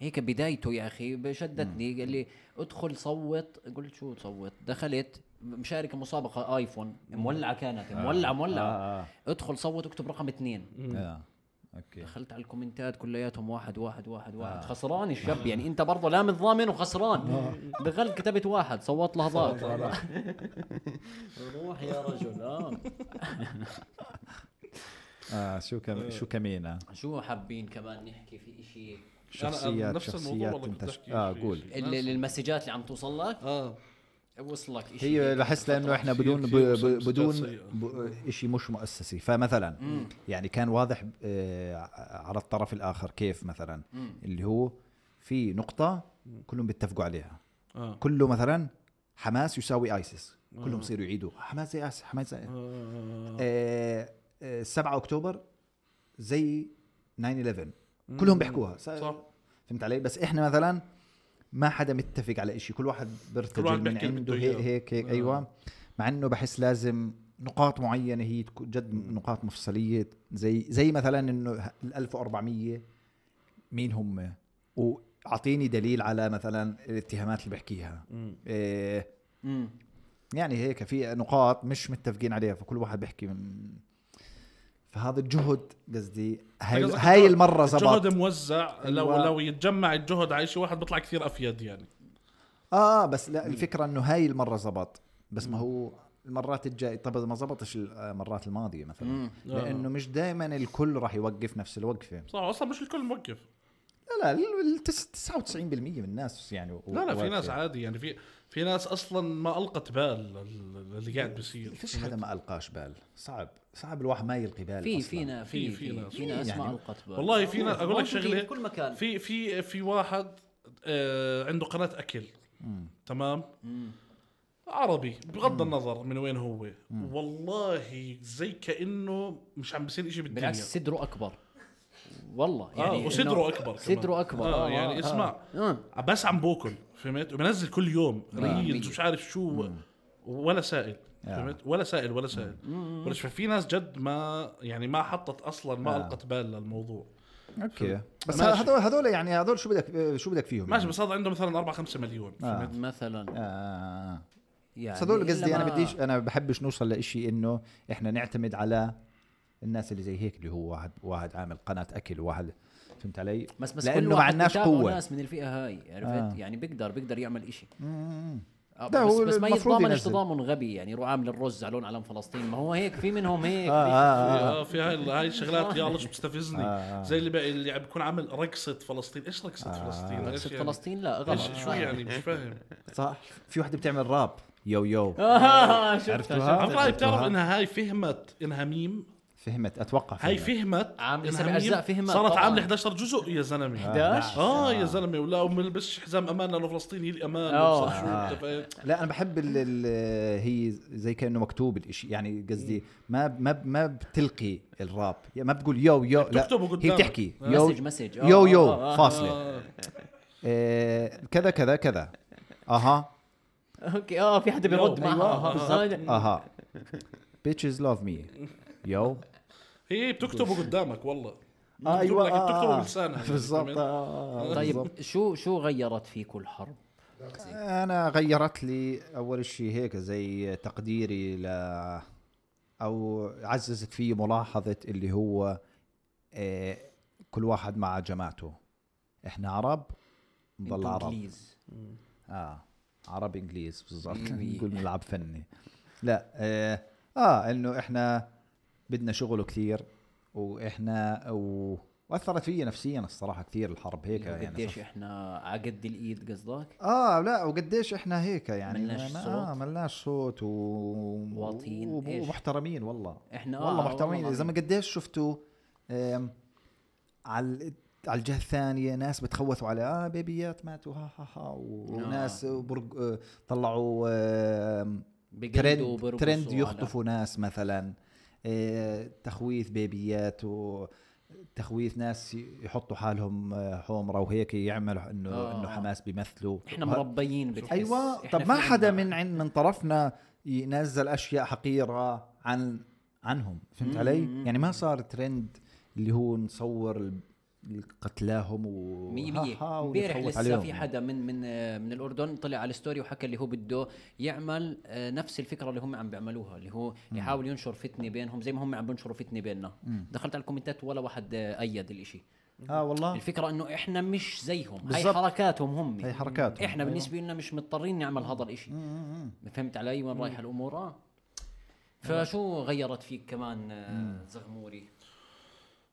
هيك بدايته يا اخي شدتني قال لي ادخل صوت قلت شو تصوت دخلت مشاركه مسابقه ايفون مولعه كانت مولعه مولعه
آه.
ادخل صوت اكتب رقم اثنين
آه. اوكي
دخلت على الكومنتات كلياتهم واحد واحد واحد
آه.
واحد خسران الشاب يعني انت برضه لا متضامن وخسران دخلت كتبت واحد صوت لحظات روح يا رجل اه
اه شو
آه.
كم شو كمينة
شو حابين كمان نحكي في اشي
شخصيات
نفس الموضوع
شخصيات
والله كنت
انت ش-
أحكي
اه
شيء.
قول
ال- ال- المسجات اللي عم توصل لك
اه
وصلك اشي
هي
هيك
بحس لانه احنا
كثير-
بدون ب-
كثير
ب-
مسلسلات
بدون
سيئة.
شيء مش مؤسسي فمثلا يعني كان واضح آه، على الطرف الاخر كيف مثلا اللي هو في نقطه كلهم بيتفقوا عليها
اه
كله مثلا حماس يساوي ايسس
آه.
كلهم بصيروا يعيدوا حماس زي ايسس حماس زي آه، آه، 7 اكتوبر زي 9 11 كلهم بيحكوها س-
صح.
فهمت علي بس احنا مثلا ما حدا متفق على إشي كل واحد
كل
بيرتجل
واحد
من
بيحكي اللي
عنده
بده
هيك
إياه. آه.
هيك, هيك ايوه مع انه بحس لازم نقاط معينه هي تكون جد نقاط مفصليه زي زي مثلا انه ال 1400 مين هم واعطيني دليل على مثلا الاتهامات اللي بحكيها إيه
مم.
يعني هيك في نقاط مش متفقين عليها فكل واحد بيحكي من فهذا الجهد قصدي هاي,
قصدك
هاي
الجهد-
المره
الجهد
زبط
موزع لو
أيوة.
لو يتجمع الجهد على شيء واحد بيطلع كثير افيد يعني
اه بس لا الفكره انه هاي المره زبط بس ما هو المرات الجاي طب ما زبطش آه، المرات الماضيه مثلا
مم.
آه.
لانه مش دائما الكل راح يوقف نفس الوقفه
صح اصلا مش الكل موقف
لا لا ال- التس- 99% من الناس يعني و-
لا لا في
واقفة.
ناس عادي يعني في في ناس اصلا ما القت بال لل- اللي
إيه،
قاعد بيصير
فيش حدا ما القاش بال صعب صعب الواحد ما يلقي بال
في
أصلاً.
في نا- في في ناس في ناس
يعني-
ما القت بال.
والله في ناس اقول لك
موجودين
شغله
في كل مكان
في في في واحد آه عنده قناه اكل تمام عربي بغض النظر من وين هو والله زي كانه مش عم بيصير شيء بالدنيا
بالعكس صدره اكبر والله يعني
يعني اه وصدره
إنه
اكبر كمان.
صدره اكبر
آه يعني اسمع
آه.
بس عم باكل فهمت وبنزل كل يوم ريلز مش عارف شو ولا سائل فهمت ولا سائل ولا سائل ولا شو- في ناس جد ما يعني ما حطت اصلا ما القت بال للموضوع
اوكي بس
ماشي.
هذول هذول يعني هذول شو بدك شو بدك فيهم يعني؟
ماشي بس هذا عنده مثلا 4 5 مليون فهمت
مثلا
آه.
يعني
بس هذول
إلا
آه. قصدي انا
ما-
بديش انا بحبش نوصل لإشي انه احنا نعتمد على الناس اللي زي هيك اللي هو واحد واحد عامل قناه اكل وواحد فهمت علي؟
بس بس كل
لانه
واحد
معناش
بتابعه
قوه
ناس من الفئه هاي عرفت آه. يعني بيقدر بيقدر يعمل إشي آه
لا،
بس,
هو
بس ما
المفروض
يتضامنش
ينزل.
تضامن غبي يعني يروح عامل الرز علون علم فلسطين ما هو هيك في منهم هيك
آه آه آه.
آه، في هاي هاي الشغلات يا الله شو
آه.
بتستفزني زي اللي بقى اللي عم بيكون عامل رقصه فلسطين ايش رقصه فلسطين إيش
رقصة
يعني؟
آه، فلسطين لا غلط
إيش- شو يعني مش فاهم
صح في وحده بتعمل راب يو يو
آه <laughs> شفتها
عرفتوها؟
على فكرة هاي بتعرف
شفتوها.
انها هاي فهمت انها ميم
فهمت اتوقع
هاي
فهمت.
فهمت
عاملة
إنها
سبع
ميم،
أجزاء فهمت
صارت
طبعاً. آه.
عامله 11 جزء يا زلمه
11
اه يا زلمه ولا وما لبسش حزام امان لانه فلسطين هي الامان
آه.
وبصير شو أنت فاهم؟
لا انا بحب ال ال هي زي كانه مكتوب الإشي يعني
إيه.
قصدي ما ما ما بتلقي الراب يعني ما بتقول يو يو لا
بتكتبه
هي
قدامك.
بتحكي
آه.
يو
مسج- مسج. آه،
يو
آه، آه،
يو
آه.
فاصله آه، كذا كذا كذا اها
اوكي اه في حدا بيرد
أيوة،
آه،
معها
بالضبط اها بيتشز لاف مي يو
هي بتكتبه قدامك والله
آه، أيوة،
بتكتب لك-
آه،
بتكتبه
آه.
بلسانها يعني،
بالضبط
فهمت؟
آه، آه، بالضبط.
طيب شو شو غيرت فيك الحرب؟
انا غيرت لي اول شيء هيك زي تقديري ل او عززت في ملاحظه اللي هو آه، كل واحد مع جماعته احنا عرب نضل
إنتو
عرب
إنجليز.
اه عربي انجليز بالضبط
إيوي.
نقول نلعب فني لا آه, اه انه احنا بدنا شغل كثير واحنا و... واثرت فيي نفسيا الصراحه كثير الحرب هيك يعني
قديش
صف-
احنا عقد الايد قصدك؟
اه لا وقديش احنا هيك يعني
ملناش
ما-
صوت.
آه ملناش صوت و...
واطيين،
وب-
إيش؟
ومحترمين والله
إحنا آه،
والله
والله
محترمين
العظيم.
اذا ما قديش شفتوا آم، على على الجهه الثانيه ناس بتخوثوا على اه بيبيات ماتوا ها ها ها وناس برق... آه، طلعوا آم،
بقلدوا
ترند
وبرقصوا
ترند
على-
يخطفوا ناس مثلا آه، تخويث بيبيات و تخويث ناس يحطوا حالهم آه، حمره وهيك يعملوا انه
آه.
انه حماس بيمثلوا
احنا
وه-
مربيين بتحس
ايوه
إحنا
طب ما
في
حدا
عنا-
من عند من طرفنا ينزل اشياء حقيره عن عنهم فهمت علي يعني ما صار ترند اللي هو نصور ال- قتلاهم
مية
و
مية
ها- ها
امبارح
ونتخوت
لسه
عليهم.
في حدا من من آه، من الاردن طلع على الستوري وحكى اللي هو بده يعمل آه، نفس الفكره اللي هم عم بيعملوها اللي هو يحاول ينشر فتنه بينهم زي ما هم عم بينشروا فتنه بيننا دخلت على الكومنتات ولا واحد آه، ايد الاشي
اه والله
الفكره انه احنا مش زيهم هاي
بالضبط.
حركاتهم هم
هي حركاتهم. أيوه.
احنا بالنسبه لنا مش مضطرين نعمل هذا الاشي فهمت علي وين رايحه الامور اه
أيوه.
فشو غيرت فيك كمان آه، زغموري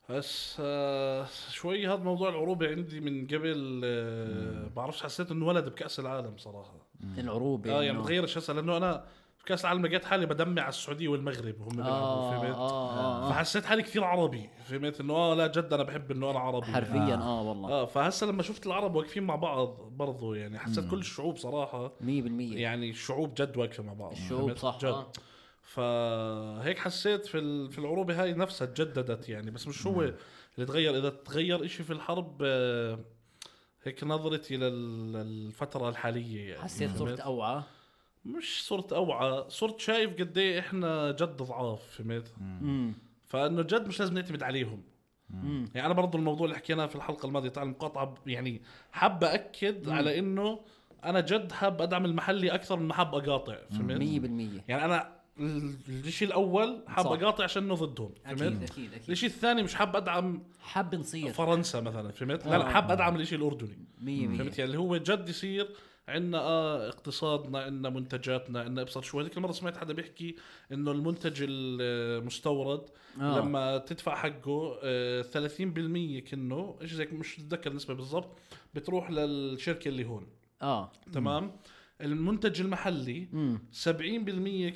بس آه، شوي هذا موضوع العروبه عندي من قبل آه، بعرفش حسيت انه ولد بكاس العالم صراحه
العروبه
اه يعني
إنه-
بتغيرش هسه لانه انا بكاس العالم لقيت حالي بدمع على السعوديه والمغرب وهم بيلعبوا
آه،
فهمت
آه، آه.
فحسيت حالي كثير عربي فهمت انه اه لا جد انا بحب انه انا عربي
حرفيا
آه.
اه والله
اه فهسه لما شفت العرب واقفين مع بعض برضو يعني حسيت كل الشعوب صراحه
100%
يعني الشعوب جد واقفه مع بعض
الشعوب
فهمت؟
صح،
جد
آه.
فهيك حسيت في ال- في العروبه هاي نفسها تجددت يعني بس مش هو اللي تغير اذا تغير إشي في الحرب آه، هيك نظرتي لل- للفتره الحاليه يعني
حسيت صرت
فهمت؟
اوعى
مش صرت اوعى صرت شايف قد ايه احنا جد ضعاف فهمت
امم
فانه جد مش لازم نعتمد عليهم يعني انا برضو الموضوع اللي حكيناه في الحلقه الماضيه تاع المقاطعه ب- يعني حاب اكد على انه انا جد حاب ادعم المحلي اكثر من ما حاب اقاطع فهمت
100%
يعني انا ال- الشيء الاول حاب
صح.
اقاطع عشانه ضدهم
اكيد
فهمت
اكيد اكيد
الشيء الثاني مش حاب ادعم
حاب نصير 100%
فرنسا مثلا فهمت لا لا
آه.
حاب ادعم الشيء الاردني فهمت
فهمت
يعني اللي هو جد يصير عندنا آه اقتصادنا عندنا منتجاتنا عندنا ابسط شوي هذيك المره سمعت حدا بيحكي انه المنتج المستورد
آه.
آه. لما تدفع حقه آه 30% كنه ايش زيك مش متذكر النسبه بالضبط بتروح للشركه اللي هون
اه
تمام المنتج المحلي
امم
70%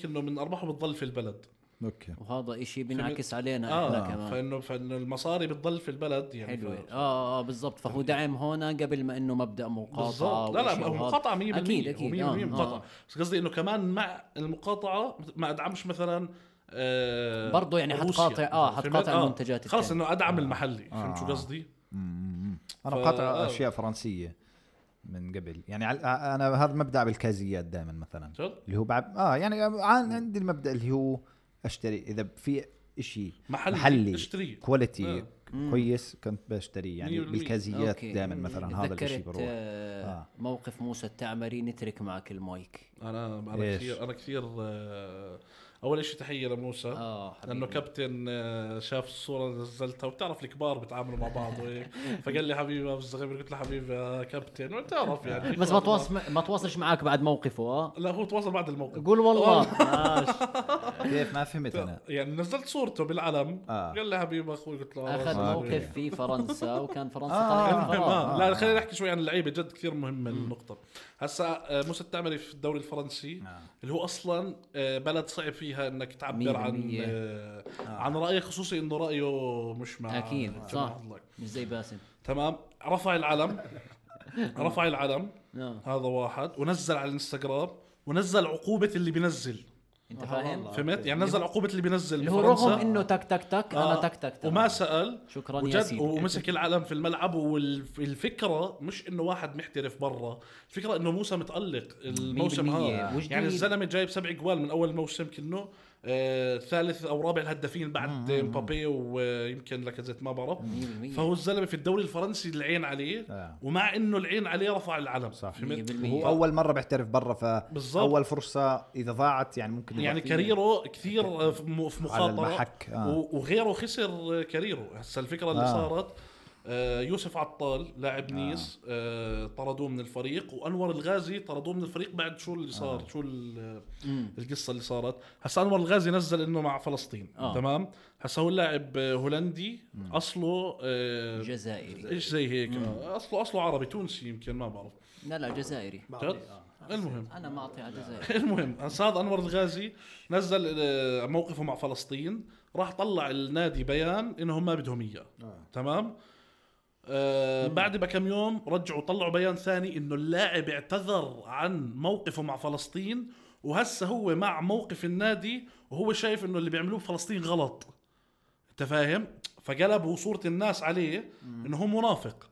كنه من ارباحه بتضل في البلد
اوكي
وهذا إشي بينعكس علينا
اه
احنا آه، كمان
فانه فانه المصاري بتضل في البلد يعني
حلوه
ف-
اه اه بالضبط فهو دعم هنا قبل ما انه مبدا مقاطعه
بالضبط لا لا
وإشي
هو
وهذا.
مقاطعه 100%
اكيد
هو
اكيد
100%
آه،
مقاطعه
آه.
بس قصدي انه كمان مع المقاطعه ما ادعمش مثلا آه
برضو يعني
روسيا
حتقاطع- آه،
مثلاً.
حتقاطع
فهمت؟
المنتجات
خلص
التانية.
انه ادعم المحلي فهمت شو
آه.
قصدي؟
مم. انا
ف-
مقاطع
آه.
اشياء فرنسيه من قبل يعني على- انا هذا مبدا بالكازيات دائما مثلا
جد؟
اللي هو بعد اه يعني عن- عندي المبدا اللي هو اشتري اذا في شيء
محلي،
محلي
اشتريه.
كواليتي
آه.
كويس كنت بشتريه يعني
100%.
بالكازيات
أوكي.
دائما مثلا هذا الشيء
تذكرت،
بروح
آه،
آه.
موقف موسى التعمري نترك معك المايك
انا انا
إيش؟
كثير انا كثير آه اول شيء تحيه لموسى
اه حبيبي.
لانه كابتن آه، شاف الصوره اللي نزلتها وبتعرف الكبار بيتعاملوا مع بعض
<laughs>
وهيك فقال لي حبيبي ما بالصغير قلت له حبيبي يا كابتن وبتعرف
<laughs>
يعني
بس ما تواصل ما تواصلش معك بعد موقفه اه
لا هو تواصل بعد الموقف
قول والله آه، ماشي.
كيف ما فهمت انا
يعني نزلت صورته بالعلم
آه.
قال لي حبيبي اخوي قلت له آه،
اخذ
صار لي.
موقف في فرنسا وكان فرنسا
آه.
طلعت
المهم،
فراغ
آه. لا خلينا نحكي شوي عن اللعيبه جد كثير مهمه النقطه هسا آه، موسى التعمري في الدوري الفرنسي
آه.
اللي هو اصلا آه، بلد صعب فيها انك
مية
تعبر عن
بالمية.
آه، عن رايه خصوصي انه رايه مش مع
أكيد،
مع
صح.
الله.
مش زي باسم
تمام رفع العلم <laughs> رفع العلم
آه.
هذا واحد ونزل على الانستغرام ونزل عقوبه اللي بينزل
انت فاهم
فهمت يعني نزل عقوبه اللي بينزل
اللي هو
بفرنسا.
رغم انه تك تك تك انا
آه،
تك تك تك
وما سال
شكراً
وجد
ياسين.
ومسك العلم في الملعب والفكره مش انه واحد محترف برا الفكره انه موسى متالق الموسم
مية بالمية.
هذا
وجديد.
يعني الزلمه جايب سبع جوال من اول موسم كنه آه ثالث او رابع الهدافين بعد مبابي ويمكن لاكازيت ما بعرف
مية بالمية.
فهو الزلمه في الدوري الفرنسي العين عليه
آه.
ومع انه العين عليه رفع العلم
صح.
مية
فهمت
بالمية.
هو اول مره بيحترف برا ف
بالضبط.
اول فرصه اذا ضاعت يعني ممكن
يعني
يضيع فيها.
كاريره كثير في م- في
على
مخاطره
المحك آه.
و- وغيره خسر كاريره هسا الفكره اللي
آه.
صارت آه، يوسف عطال لاعب نيس آه، طردوه من الفريق وانور الغازي طردوه من الفريق بعد شو
آه.
اللي صار شو ال- القصه اللي صارت هسا انور الغازي نزل انه مع فلسطين
آه.
تمام هسا هو لاعب آه، هولندي اصله آه،
جزائري
ايش زي هيك آه، اصله اصله عربي تونسي يمكن ما بعرف
لا لا جزائري
جد؟ المهم
انا ما اعطي على جزائر
<laughs> المهم هذا انور الغازي نزل آه، موقفه مع فلسطين راح طلع النادي بيان انهم ما بدهم اياه تمام آه بعد بكم يوم رجعوا طلعوا بيان ثاني انه اللاعب اعتذر عن موقفه مع فلسطين وهسه هو مع موقف النادي وهو شايف انه اللي بيعملوه فلسطين غلط انت فاهم فقلبوا صوره الناس عليه انه هو منافق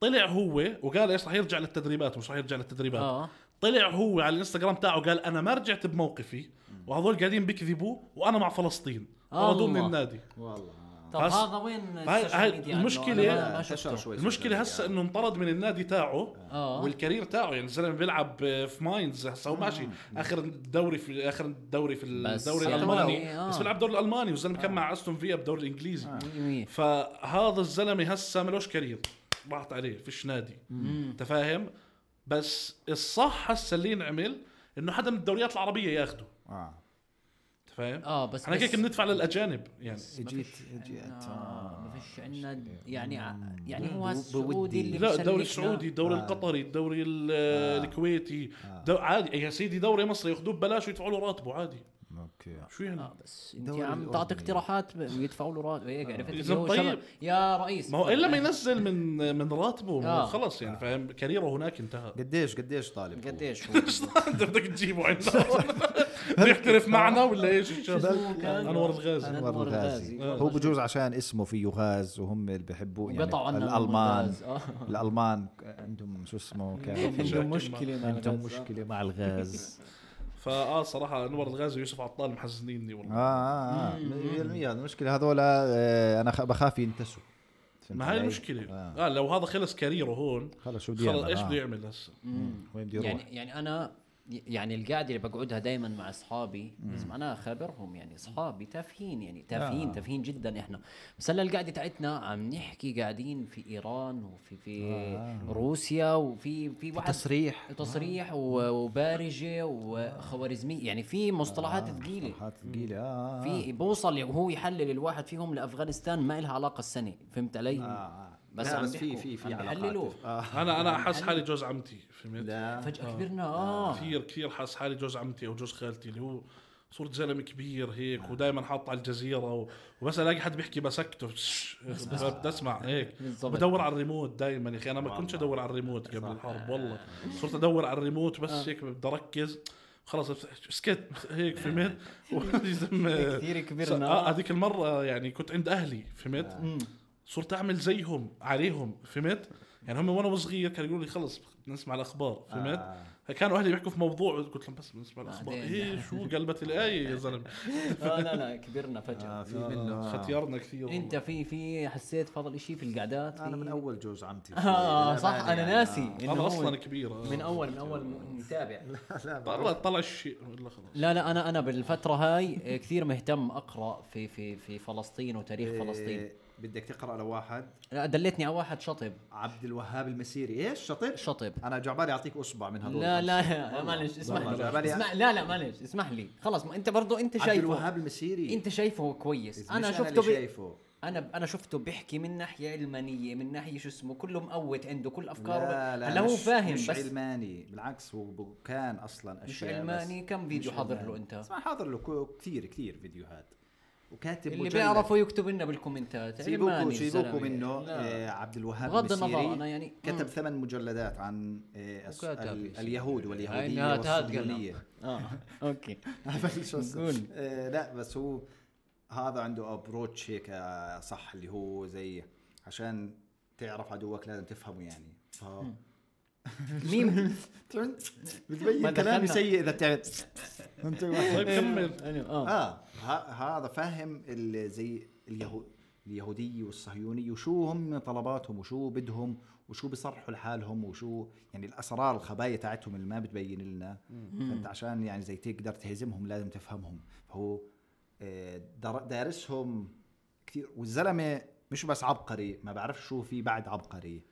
طلع هو وقال ايش رح يرجع للتدريبات مش رح يرجع للتدريبات
اه
طلع هو على الانستغرام تاعه قال انا ما رجعت بموقفي وهذول قاعدين بيكذبوا وانا مع فلسطين
الله.
طردوه من النادي
والله
طب
بس-
هذا وين
هاي-
السوشيال
هاي
ميديا عنه؟
المشكلة-
أنا آه، ما- ما
انتشر
شفته.
شوي
المشكله هسه انه انطرد من النادي تاعه
آه.
والكارير تاعه يعني الزلمه بيلعب في ماينز هسه هو ماشي اخر الدوري في اخر الدوري في
بس
الدوري
يعني
الالماني
آه.
بس بيلعب الدوري الالماني والزلمه كان مع استون فيا بالدوري الانجليزي
مية.
فهذا الزلمه هسه ملوش كارير راحت عليه فيش نادي انت فاهم بس الصح هسه اللي ينعمل انه حدا من الدوريات العربيه ياخده
اه
انت فاهم
اه بس
احنا
بس-
هيك بندفع للاجانب يعني
ما
اجيت
فيش
اجيت
عنا-
آه.
ما فيش عندنا يعني ع- يعني هو
بودي.
السعودي اللي
لا
مسلكنا.
الدوري السعودي الدوري
آه.
القطري الدوري ال- الكويتي دو عادي يا سيدي دوري مصري ياخذوه ببلاش ويدفعوا له راتبه عادي
اوكي
شو يعني
آه، بس انت
الدوري
عم تعطي
الأردني. آه.
اقتراحات ويدفعوا له راتب هيك عرفت
إذا
اللي هو
طيب.
شباب. يا رئيس
ما هو الا ما ينزل من من
آه.
راتبه خلص يعني فاهم كاريره هناك انتهى <laughs>
قديش قديش طالب هو؟
قديش هو
انت بدك تجيبه
<laughs>
عندك بيحترف معنا ولا ايش الشاب انور الغازي
انور الغازي
آه.
هو بجوز عشان اسمه فيه غاز وهم اللي بيحبوه يعني
قطعوا عنا
الالمان
<laughs> الغاز، آه.
الالمان عندهم شو اسمه كان
<laughs> عندهم مشكله مع
عندهم
الغاز.
مشكله مع الغاز
فاه صراحه انور الغازي ويوسف عطال محزنيني
اه
والله
اه اه 100% المشكله هذول آه، انا خ- بخاف ينتسوا فهمت
ما هاي
علي؟
المشكله
آه.
اه لو هذا خلص كاريره هون
خلص شو بده
خلص
يعمل آه.
ايش بده يعمل هسه
وين بده يروح
يعني يعني انا يعني القعده اللي بقعدها دائما مع اصحابي لازم انا اخبرهم يعني اصحابي تافهين
آه.
يعني تافهين تافهين جدا احنا بس هلا القعده تاعتنا عم نحكي قاعدين في ايران وفي في
آه.
روسيا وفي في واحد
تصريح
تصريح و- وبارجه وخوارزمي يعني في
آه.
مصطلحات ثقيله
حات ثقيله اه آه.
في إيه؟ بوصل وهو يحلل الواحد فيهم لافغانستان ما لها علاقه السنه فهمت علي؟
آه.
بس
لا،
عم
بس في
بيحكوا،
في في
عم
علاقات.
بيحللوه.
آه.
انا انا احس حالي جوز عمتي آه. فهمت
لا
فجاه كبرنا
آه.
اه
كثير كثير حاس حالي جوز عمتي او جوز خالتي اللي هو صرت زلمه كبير هيك ودائما حاط على الجزيره و... وبس الاقي حد بيحكي بسكته بدي اسمع هيك
بالضبط.
بدور على الريموت دائما يا اخي انا ما كنتش ادور على الريموت قبل الحرب والله
آه.
صرت ادور على الريموت بس هيك بدي اركز خلص بس- سكت هيك فهمت
<laughs>
ولازم-
كثير
س-
كبرنا.
آه، هذيك المره يعني كنت عند اهلي
آه.
<laughs>
فهمت صرت اعمل زيهم عليهم فهمت يعني هم وانا صغير كانوا يقولوا لي خلص نسمع الاخبار فهمت
آه.
كانوا اهلي بيحكوا في موضوع قلت لهم بس بنسمع الاخبار
بعدين. يعني.
ايه شو قلبت الايه يا زلمه
آه، لا لا كبرنا فجاه
آه، في منه آه.
ختيارنا كثير
انت في في حسيت فضل شيء في القعدات
انا من
<laughs> في-
اول جوز عمتي
اه صح انا
يعني،
ناسي
آه.
والله.
انه
انا
هو
اصلا كبير آه.
من اول من اول م- متابع
<laughs>
طلع طلع الشيء ولا خلاص
لا لا انا انا بالفتره هاي كثير مهتم اقرا في في في فلسطين
إيه.
وتاريخ إيه، فلسطين
بدك تقرا لواحد
لا دلتني على واحد شطب
عبد الوهاب المسيري ايش شطب
شطب
انا جعبالي اعطيك اصبع من آه، هذول
لا لا لا معلش اسمح
والله،
لي
جبالي-
اسمح لا لا معلش اسمح لي خلص ما انت برضو انت
عبد
شايفه
الوهاب المسيري
انت شايفه كويس
إذا
انا
إيه. مش
شفته
اللي
ب...
شايفه
انا انا شفته بيحكي من ناحيه علمانيه من ناحيه شو اسمه كله مقوت عنده كل افكاره
لا لا
هلا هو
مش-
فاهم
مش
بس
علماني بالعكس هو ب- كان اصلا
مش
اشياء بس-
علماني كم فيديو
مش
حاضر
علماني.
له انت
اسمع حاضر له كو- كثير كثير فيديوهات وكاتب
اللي
مجلد.
بيعرفوا يكتب لنا بالكومنتات
سيبوكو
علماني
سيبوكو
الزلمة.
منه
لا.
آه عبد الوهاب
بغض
المسيري
النظر أنا يعني- مم.
كتب ثمان مجلدات عن آه الس-
وكاتب.
ال- اليهود
هاي
واليهوديه
إنها تهاد
<laughs>
قلنا.
والصهيونيه
اه
<laughs>
اوكي
بس شو اسمه؟
قول.
آه، لا بس هو هذا عنده ابروتش هيك آه، صح اللي هو زي عشان تعرف عدوك لازم تفهمه يعني ف
مين ما
بتبين
دخلنا.
كلامي سيء اذا تعبت انت
<laughs>
واحد.
طيب كمل
اه
اه ه- هذا فاهم ال- زي اليهود اليهودية والصهيونية وشو هم طلباتهم وشو بدهم وشو بيصرحوا لحالهم وشو يعني الأسرار الخبايا تاعتهم اللي ما بتبين لنا فأنت عشان يعني زي تقدر تهزمهم لازم تفهمهم فهو آه، در- دارسهم كثير والزلمة مش بس عبقري ما بعرف شو في بعد عبقري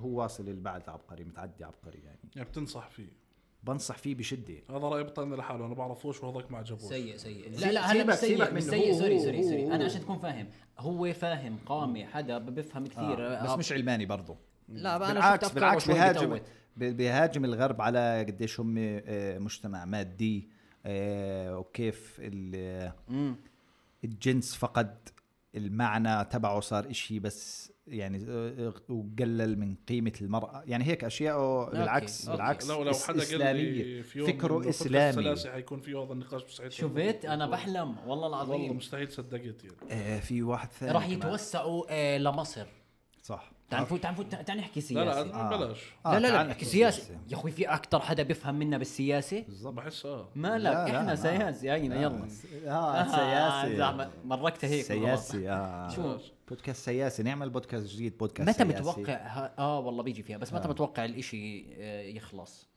هو واصل للبعد عبقري متعدي عبقري يعني
يعني بتنصح فيه
بنصح فيه بشدة
هذا راي بطلنا لحاله انا بعرفوش وهذاك ما عجبوش
سيء سيء
سيء-
لا لا هلا
سيبك-
مش سيء
سيبك
مش
منه.
سيء
هو-
سوري
هو-
سوري
هو-
سوري
هو-
انا عشان تكون فاهم هو فاهم قامي حدا بفهم كثير
آه.
آه.
بس مش علماني برضه
لا بقى انا
بالعكس
شفت افكاره
بالعكس
شوي
بيهاجم
بتوت.
بي- بيهاجم الغرب على قديش هم آه، مجتمع مادي آه، وكيف ال- الجنس فقد المعنى تبعه صار إشي بس يعني آه، وقلل من قيمة المرأة يعني هيك أشياء بالعكس
أوكي.
بالعكس
لو لو
إس-
حدا قال لي
إسلامية
في يوم إنه
فكره
فترة
إسلامي
السلاسة حيكون في هذا النقاش مستحيل
شفت انا بحلم والله
والله
العظيم
مستحيل صدقت يعني
آه، في واحد ثاني
راح
كمان.
يتوسعوا آه لمصر
صح
تعال نفوت تعال نفوت تعال نحكي
لا
سياسه
آه،
لا بلاش
لا لا, لا
تعال
نحكي
نحكي
سياسه
سياسة.
يا اخوي في اكثر حدا بيفهم منا بالسياسه
بالضبط
بحس اه
مالك
لا، لا،
احنا
ما-
سياسه هينا يلا آه،
اه
<laughs>
سياسي
زعما مركتها هيك
سياسي اه
شو؟
بودكاست سياسي نعمل بودكاست جديد بودكاست
متى
سياسي.
متوقع ها- اه والله بيجي فيها
آه.
بس متى متوقع الاشي آه، يخلص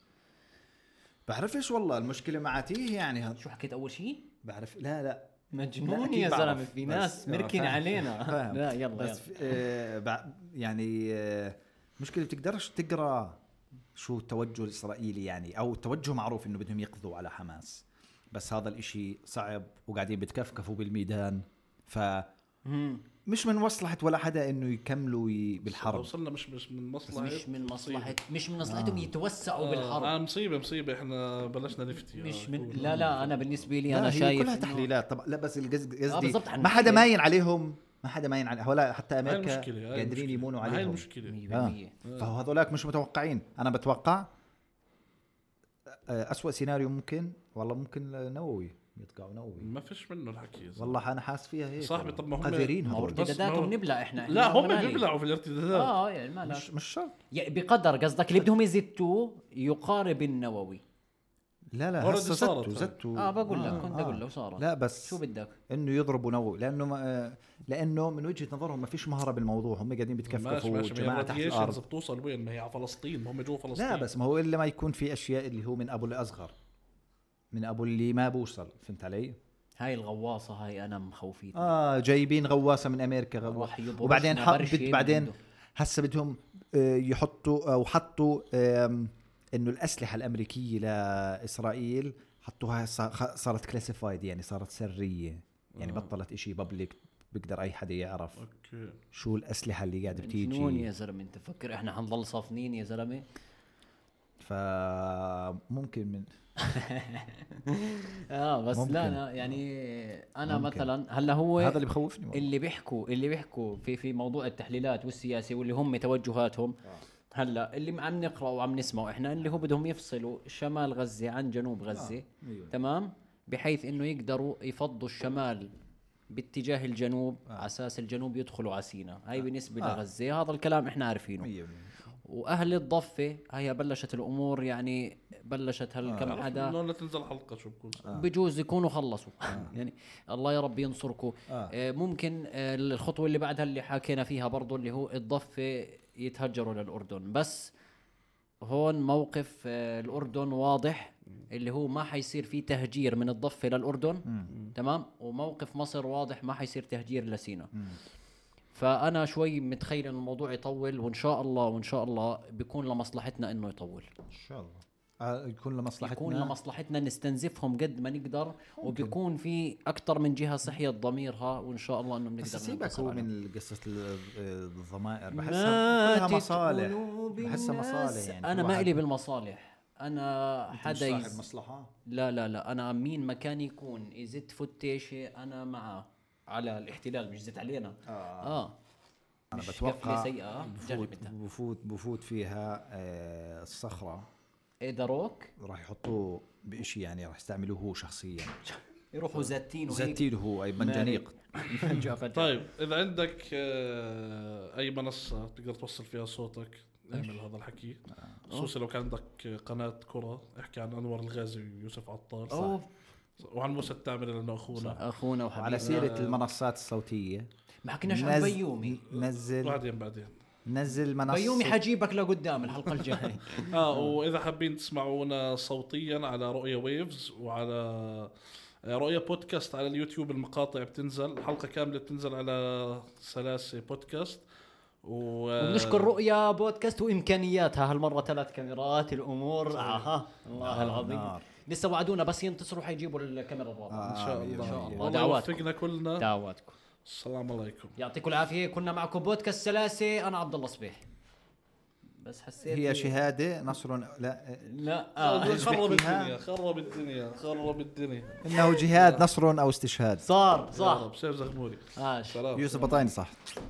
بعرفش والله المشكله معتيه يعني هاد-
شو حكيت اول شيء
بعرف لا لا لا،
مجنون
أكيد
يا
بعرف.
زلمه في
بس-
ناس
آه،
مركن
فاهم.
علينا
فاهم.
لا يلا
بس
بس
في- آه بع- يعني آه مشكله بتقدرش تقرا شو التوجه الاسرائيلي يعني او التوجه معروف انه بدهم يقضوا على حماس بس هذا الاشي صعب وقاعدين بتكفكفوا بالميدان ف مش من مصلحة ولا حدا انه يكملوا ي- بالحرب
وصلنا مش مش من
بس
مصلحه
طيب،
مش من
مصيبة.
مصلحه مش من مصلحتهم يتوسعوا
آه
بالحرب
مصيبه مصيبه احنا بلشنا نفتي
مش
آه،
من
شو.
لا لا انا بالنسبه لي انا
لا، هي
شايف
كلها
إنه- آه،
تحليلات طبعا لا بس القصد قصدي
بالضبط،
ما حدا
حنحكي.
ماين عليهم ما حدا ماين عليهم ولا حتى
هاي
امريكا
المشكله هاي
قادرين
المشكلة.
يمونوا
هاي
عليهم
المشكله
100%
آه. فهو هذولاك مش متوقعين انا بتوقع آه، أسوأ سيناريو ممكن والله ممكن نووي يطقعوا نووي
ما فيش منه الحكي صح.
والله انا حاسس فيها هيك
صاحبي، طب ما هم-
قذرين
ما هو
هذول.
بس ما هو-
ارتداداتهم نبلع احنا
لا
إحنا
هم
بنالي.
بيبلعوا في الارتدادات
اه يعني ما
مش مش شرط
يعني بقدر قصدك اللي بدهم يزتوه يقارب النووي
لا لا
Already
هسه
صارت.
زتوا زتوا آه،
اه بقول لك كنت اقول له صارت
لا بس
شو بدك
انه يضربوا نووي لانه ما آه، لانه من وجهه نظرهم ما فيش مهره بالموضوع هم قاعدين
ماشي
بيتكفكفوا
ماشي
جماعه تحت الارض
بتوصل وين ما هي على فلسطين ما هم جوا فلسطين
لا بس ما هو الا ما يكون في اشياء اللي هو من ابو الاصغر من ابو اللي ما بوصل فهمت علي؟
هاي الغواصه هاي انا مخوفيتني
اه جايبين غواصه من امريكا
راح
غواصه
يبرشنا
وبعدين حط
برشة
بد-
من
بعدين
عنده.
هسه بدهم آه، يحطوا او حطوا آم، انه الاسلحه الامريكيه لاسرائيل حطوها صا- خ- صارت كلاسيفايد يعني صارت سريه يعني
آه.
بطلت إشي بابليك بيقدر اي حدا يعرف
اوكي
شو الاسلحه اللي قاعده
مجنون يعني يا
بتيجي
زلمه انت فكر احنا حنضل صافنين يا زلمه
فممكن من
اه بس
ممكن.
لا لا يعني انا
ممكن.
مثلا هلا هو
هذا اللي بخوفني والله.
اللي بيحكوا اللي بيحكوا في في موضوع التحليلات والسياسه واللي هم توجهاتهم هلا اللي عم نقرا وعم نسمعه احنا اللي هو بدهم يفصلوا شمال غزه عن جنوب غزه
آه، أيوة.
تمام بحيث انه يقدروا يفضوا الشمال باتجاه الجنوب على اساس الجنوب يدخلوا على سينا هاي بالنسبه
آه.
لغزه هذا الكلام احنا عارفينه
مية بالمية.
واهل الضفه هي بلشت الامور يعني بلشت هالكم
آه.
عرفت
حدا
إنه لا تنزل حلقه شو بكون
آه. بجوز يكونوا خلصوا <laughs> يعني الله يا رب ينصركم
آه.
آه. ممكن آه الخطوه اللي بعدها اللي حكينا فيها برضو اللي هو الضفه يتهجروا للاردن بس هون موقف آه الاردن واضح اللي هو ما حيصير في تهجير من الضفه للاردن تمام وموقف مصر واضح ما حيصير تهجير لسينا فانا شوي متخيل ان الموضوع يطول وان شاء الله وان شاء الله بيكون لمصلحتنا انه يطول
ان شاء الله آه، يكون لمصلحتنا
يكون لمصلحتنا نستنزفهم قد ما نقدر وبيكون في اكثر من جهه صحيت ضميرها وان شاء الله انه
بس
بنقدر
سيبك
ننتصر
هو
عليهم.
من قصة ال- الضمائر
ما
بحسها كلها
تتقولوا
مصالح بحسها
بالناس.
مصالح يعني كل
انا ما
واحد
الي بالمصالح انا
مش
حدا
صاحب
يز...
مصلحة
لا لا لا انا مين ما كان يكون يزت فتيشة انا معه على الاحتلال مش يزت علينا
آه.
اه
أنا
مش
بتوقع
قفلة سيئة جرب
بفوت
انت
بفوت بفوت فيها آه، الصخرة
إيه ذا روك
راح يحطوه بشيء يعني راح يستعملوه هو شخصيا
يروحوا زاتين وهيك
زتيله هو اي منجنيق <laughs>
فجأة <laughs> فجأة
طيب اذا عندك آه، اي منصه تقدر توصل فيها صوتك اعمل هذا الحكي خصوصا لو كان عندك قناه كره احكي عن انور الغازي ويوسف عطار
أوه.
وعن موسى التعمري لانه اخونا
اخونا
وعلى
وحبيبنا
سيرة المنصات الصوتية
ما حكيناش عن
نز-
بيومي
نزل
بعدين بعدين
نزل منصة
بيومي حجيبك لقدام الحلقه الجايه
اه واذا حابين تسمعونا صوتيا على رؤيا ويفز وعلى آه، رؤيا بودكاست على اليوتيوب المقاطع بتنزل حلقه كامله بتنزل على سلاسه بودكاست و آه،
ونشكر رؤيا بودكاست وامكانياتها هالمره ثلاث كاميرات الامور اها الله العظيم
آه، نار. آه،
لسه وعدونا بس ينتصروا حيجيبوا الكاميرا الرابعه
ان شاء الله
إن شاء الله.
الله
ودعواتكم.
يوفقنا كلنا
دعواتكم
السلام عليكم
يعطيكم العافيه كنا معكم بودكاست سلاسه انا عبد الله صبيح بس حسيت
هي شهادة نصر لا
لا آه.
خرب
بحكيها.
الدنيا خرب الدنيا خرب الدنيا
انه
<laughs>
جهاد نصر او استشهاد
صار صح
خرب سيف زغموري
آه.
سلام
يوسف بطايني صح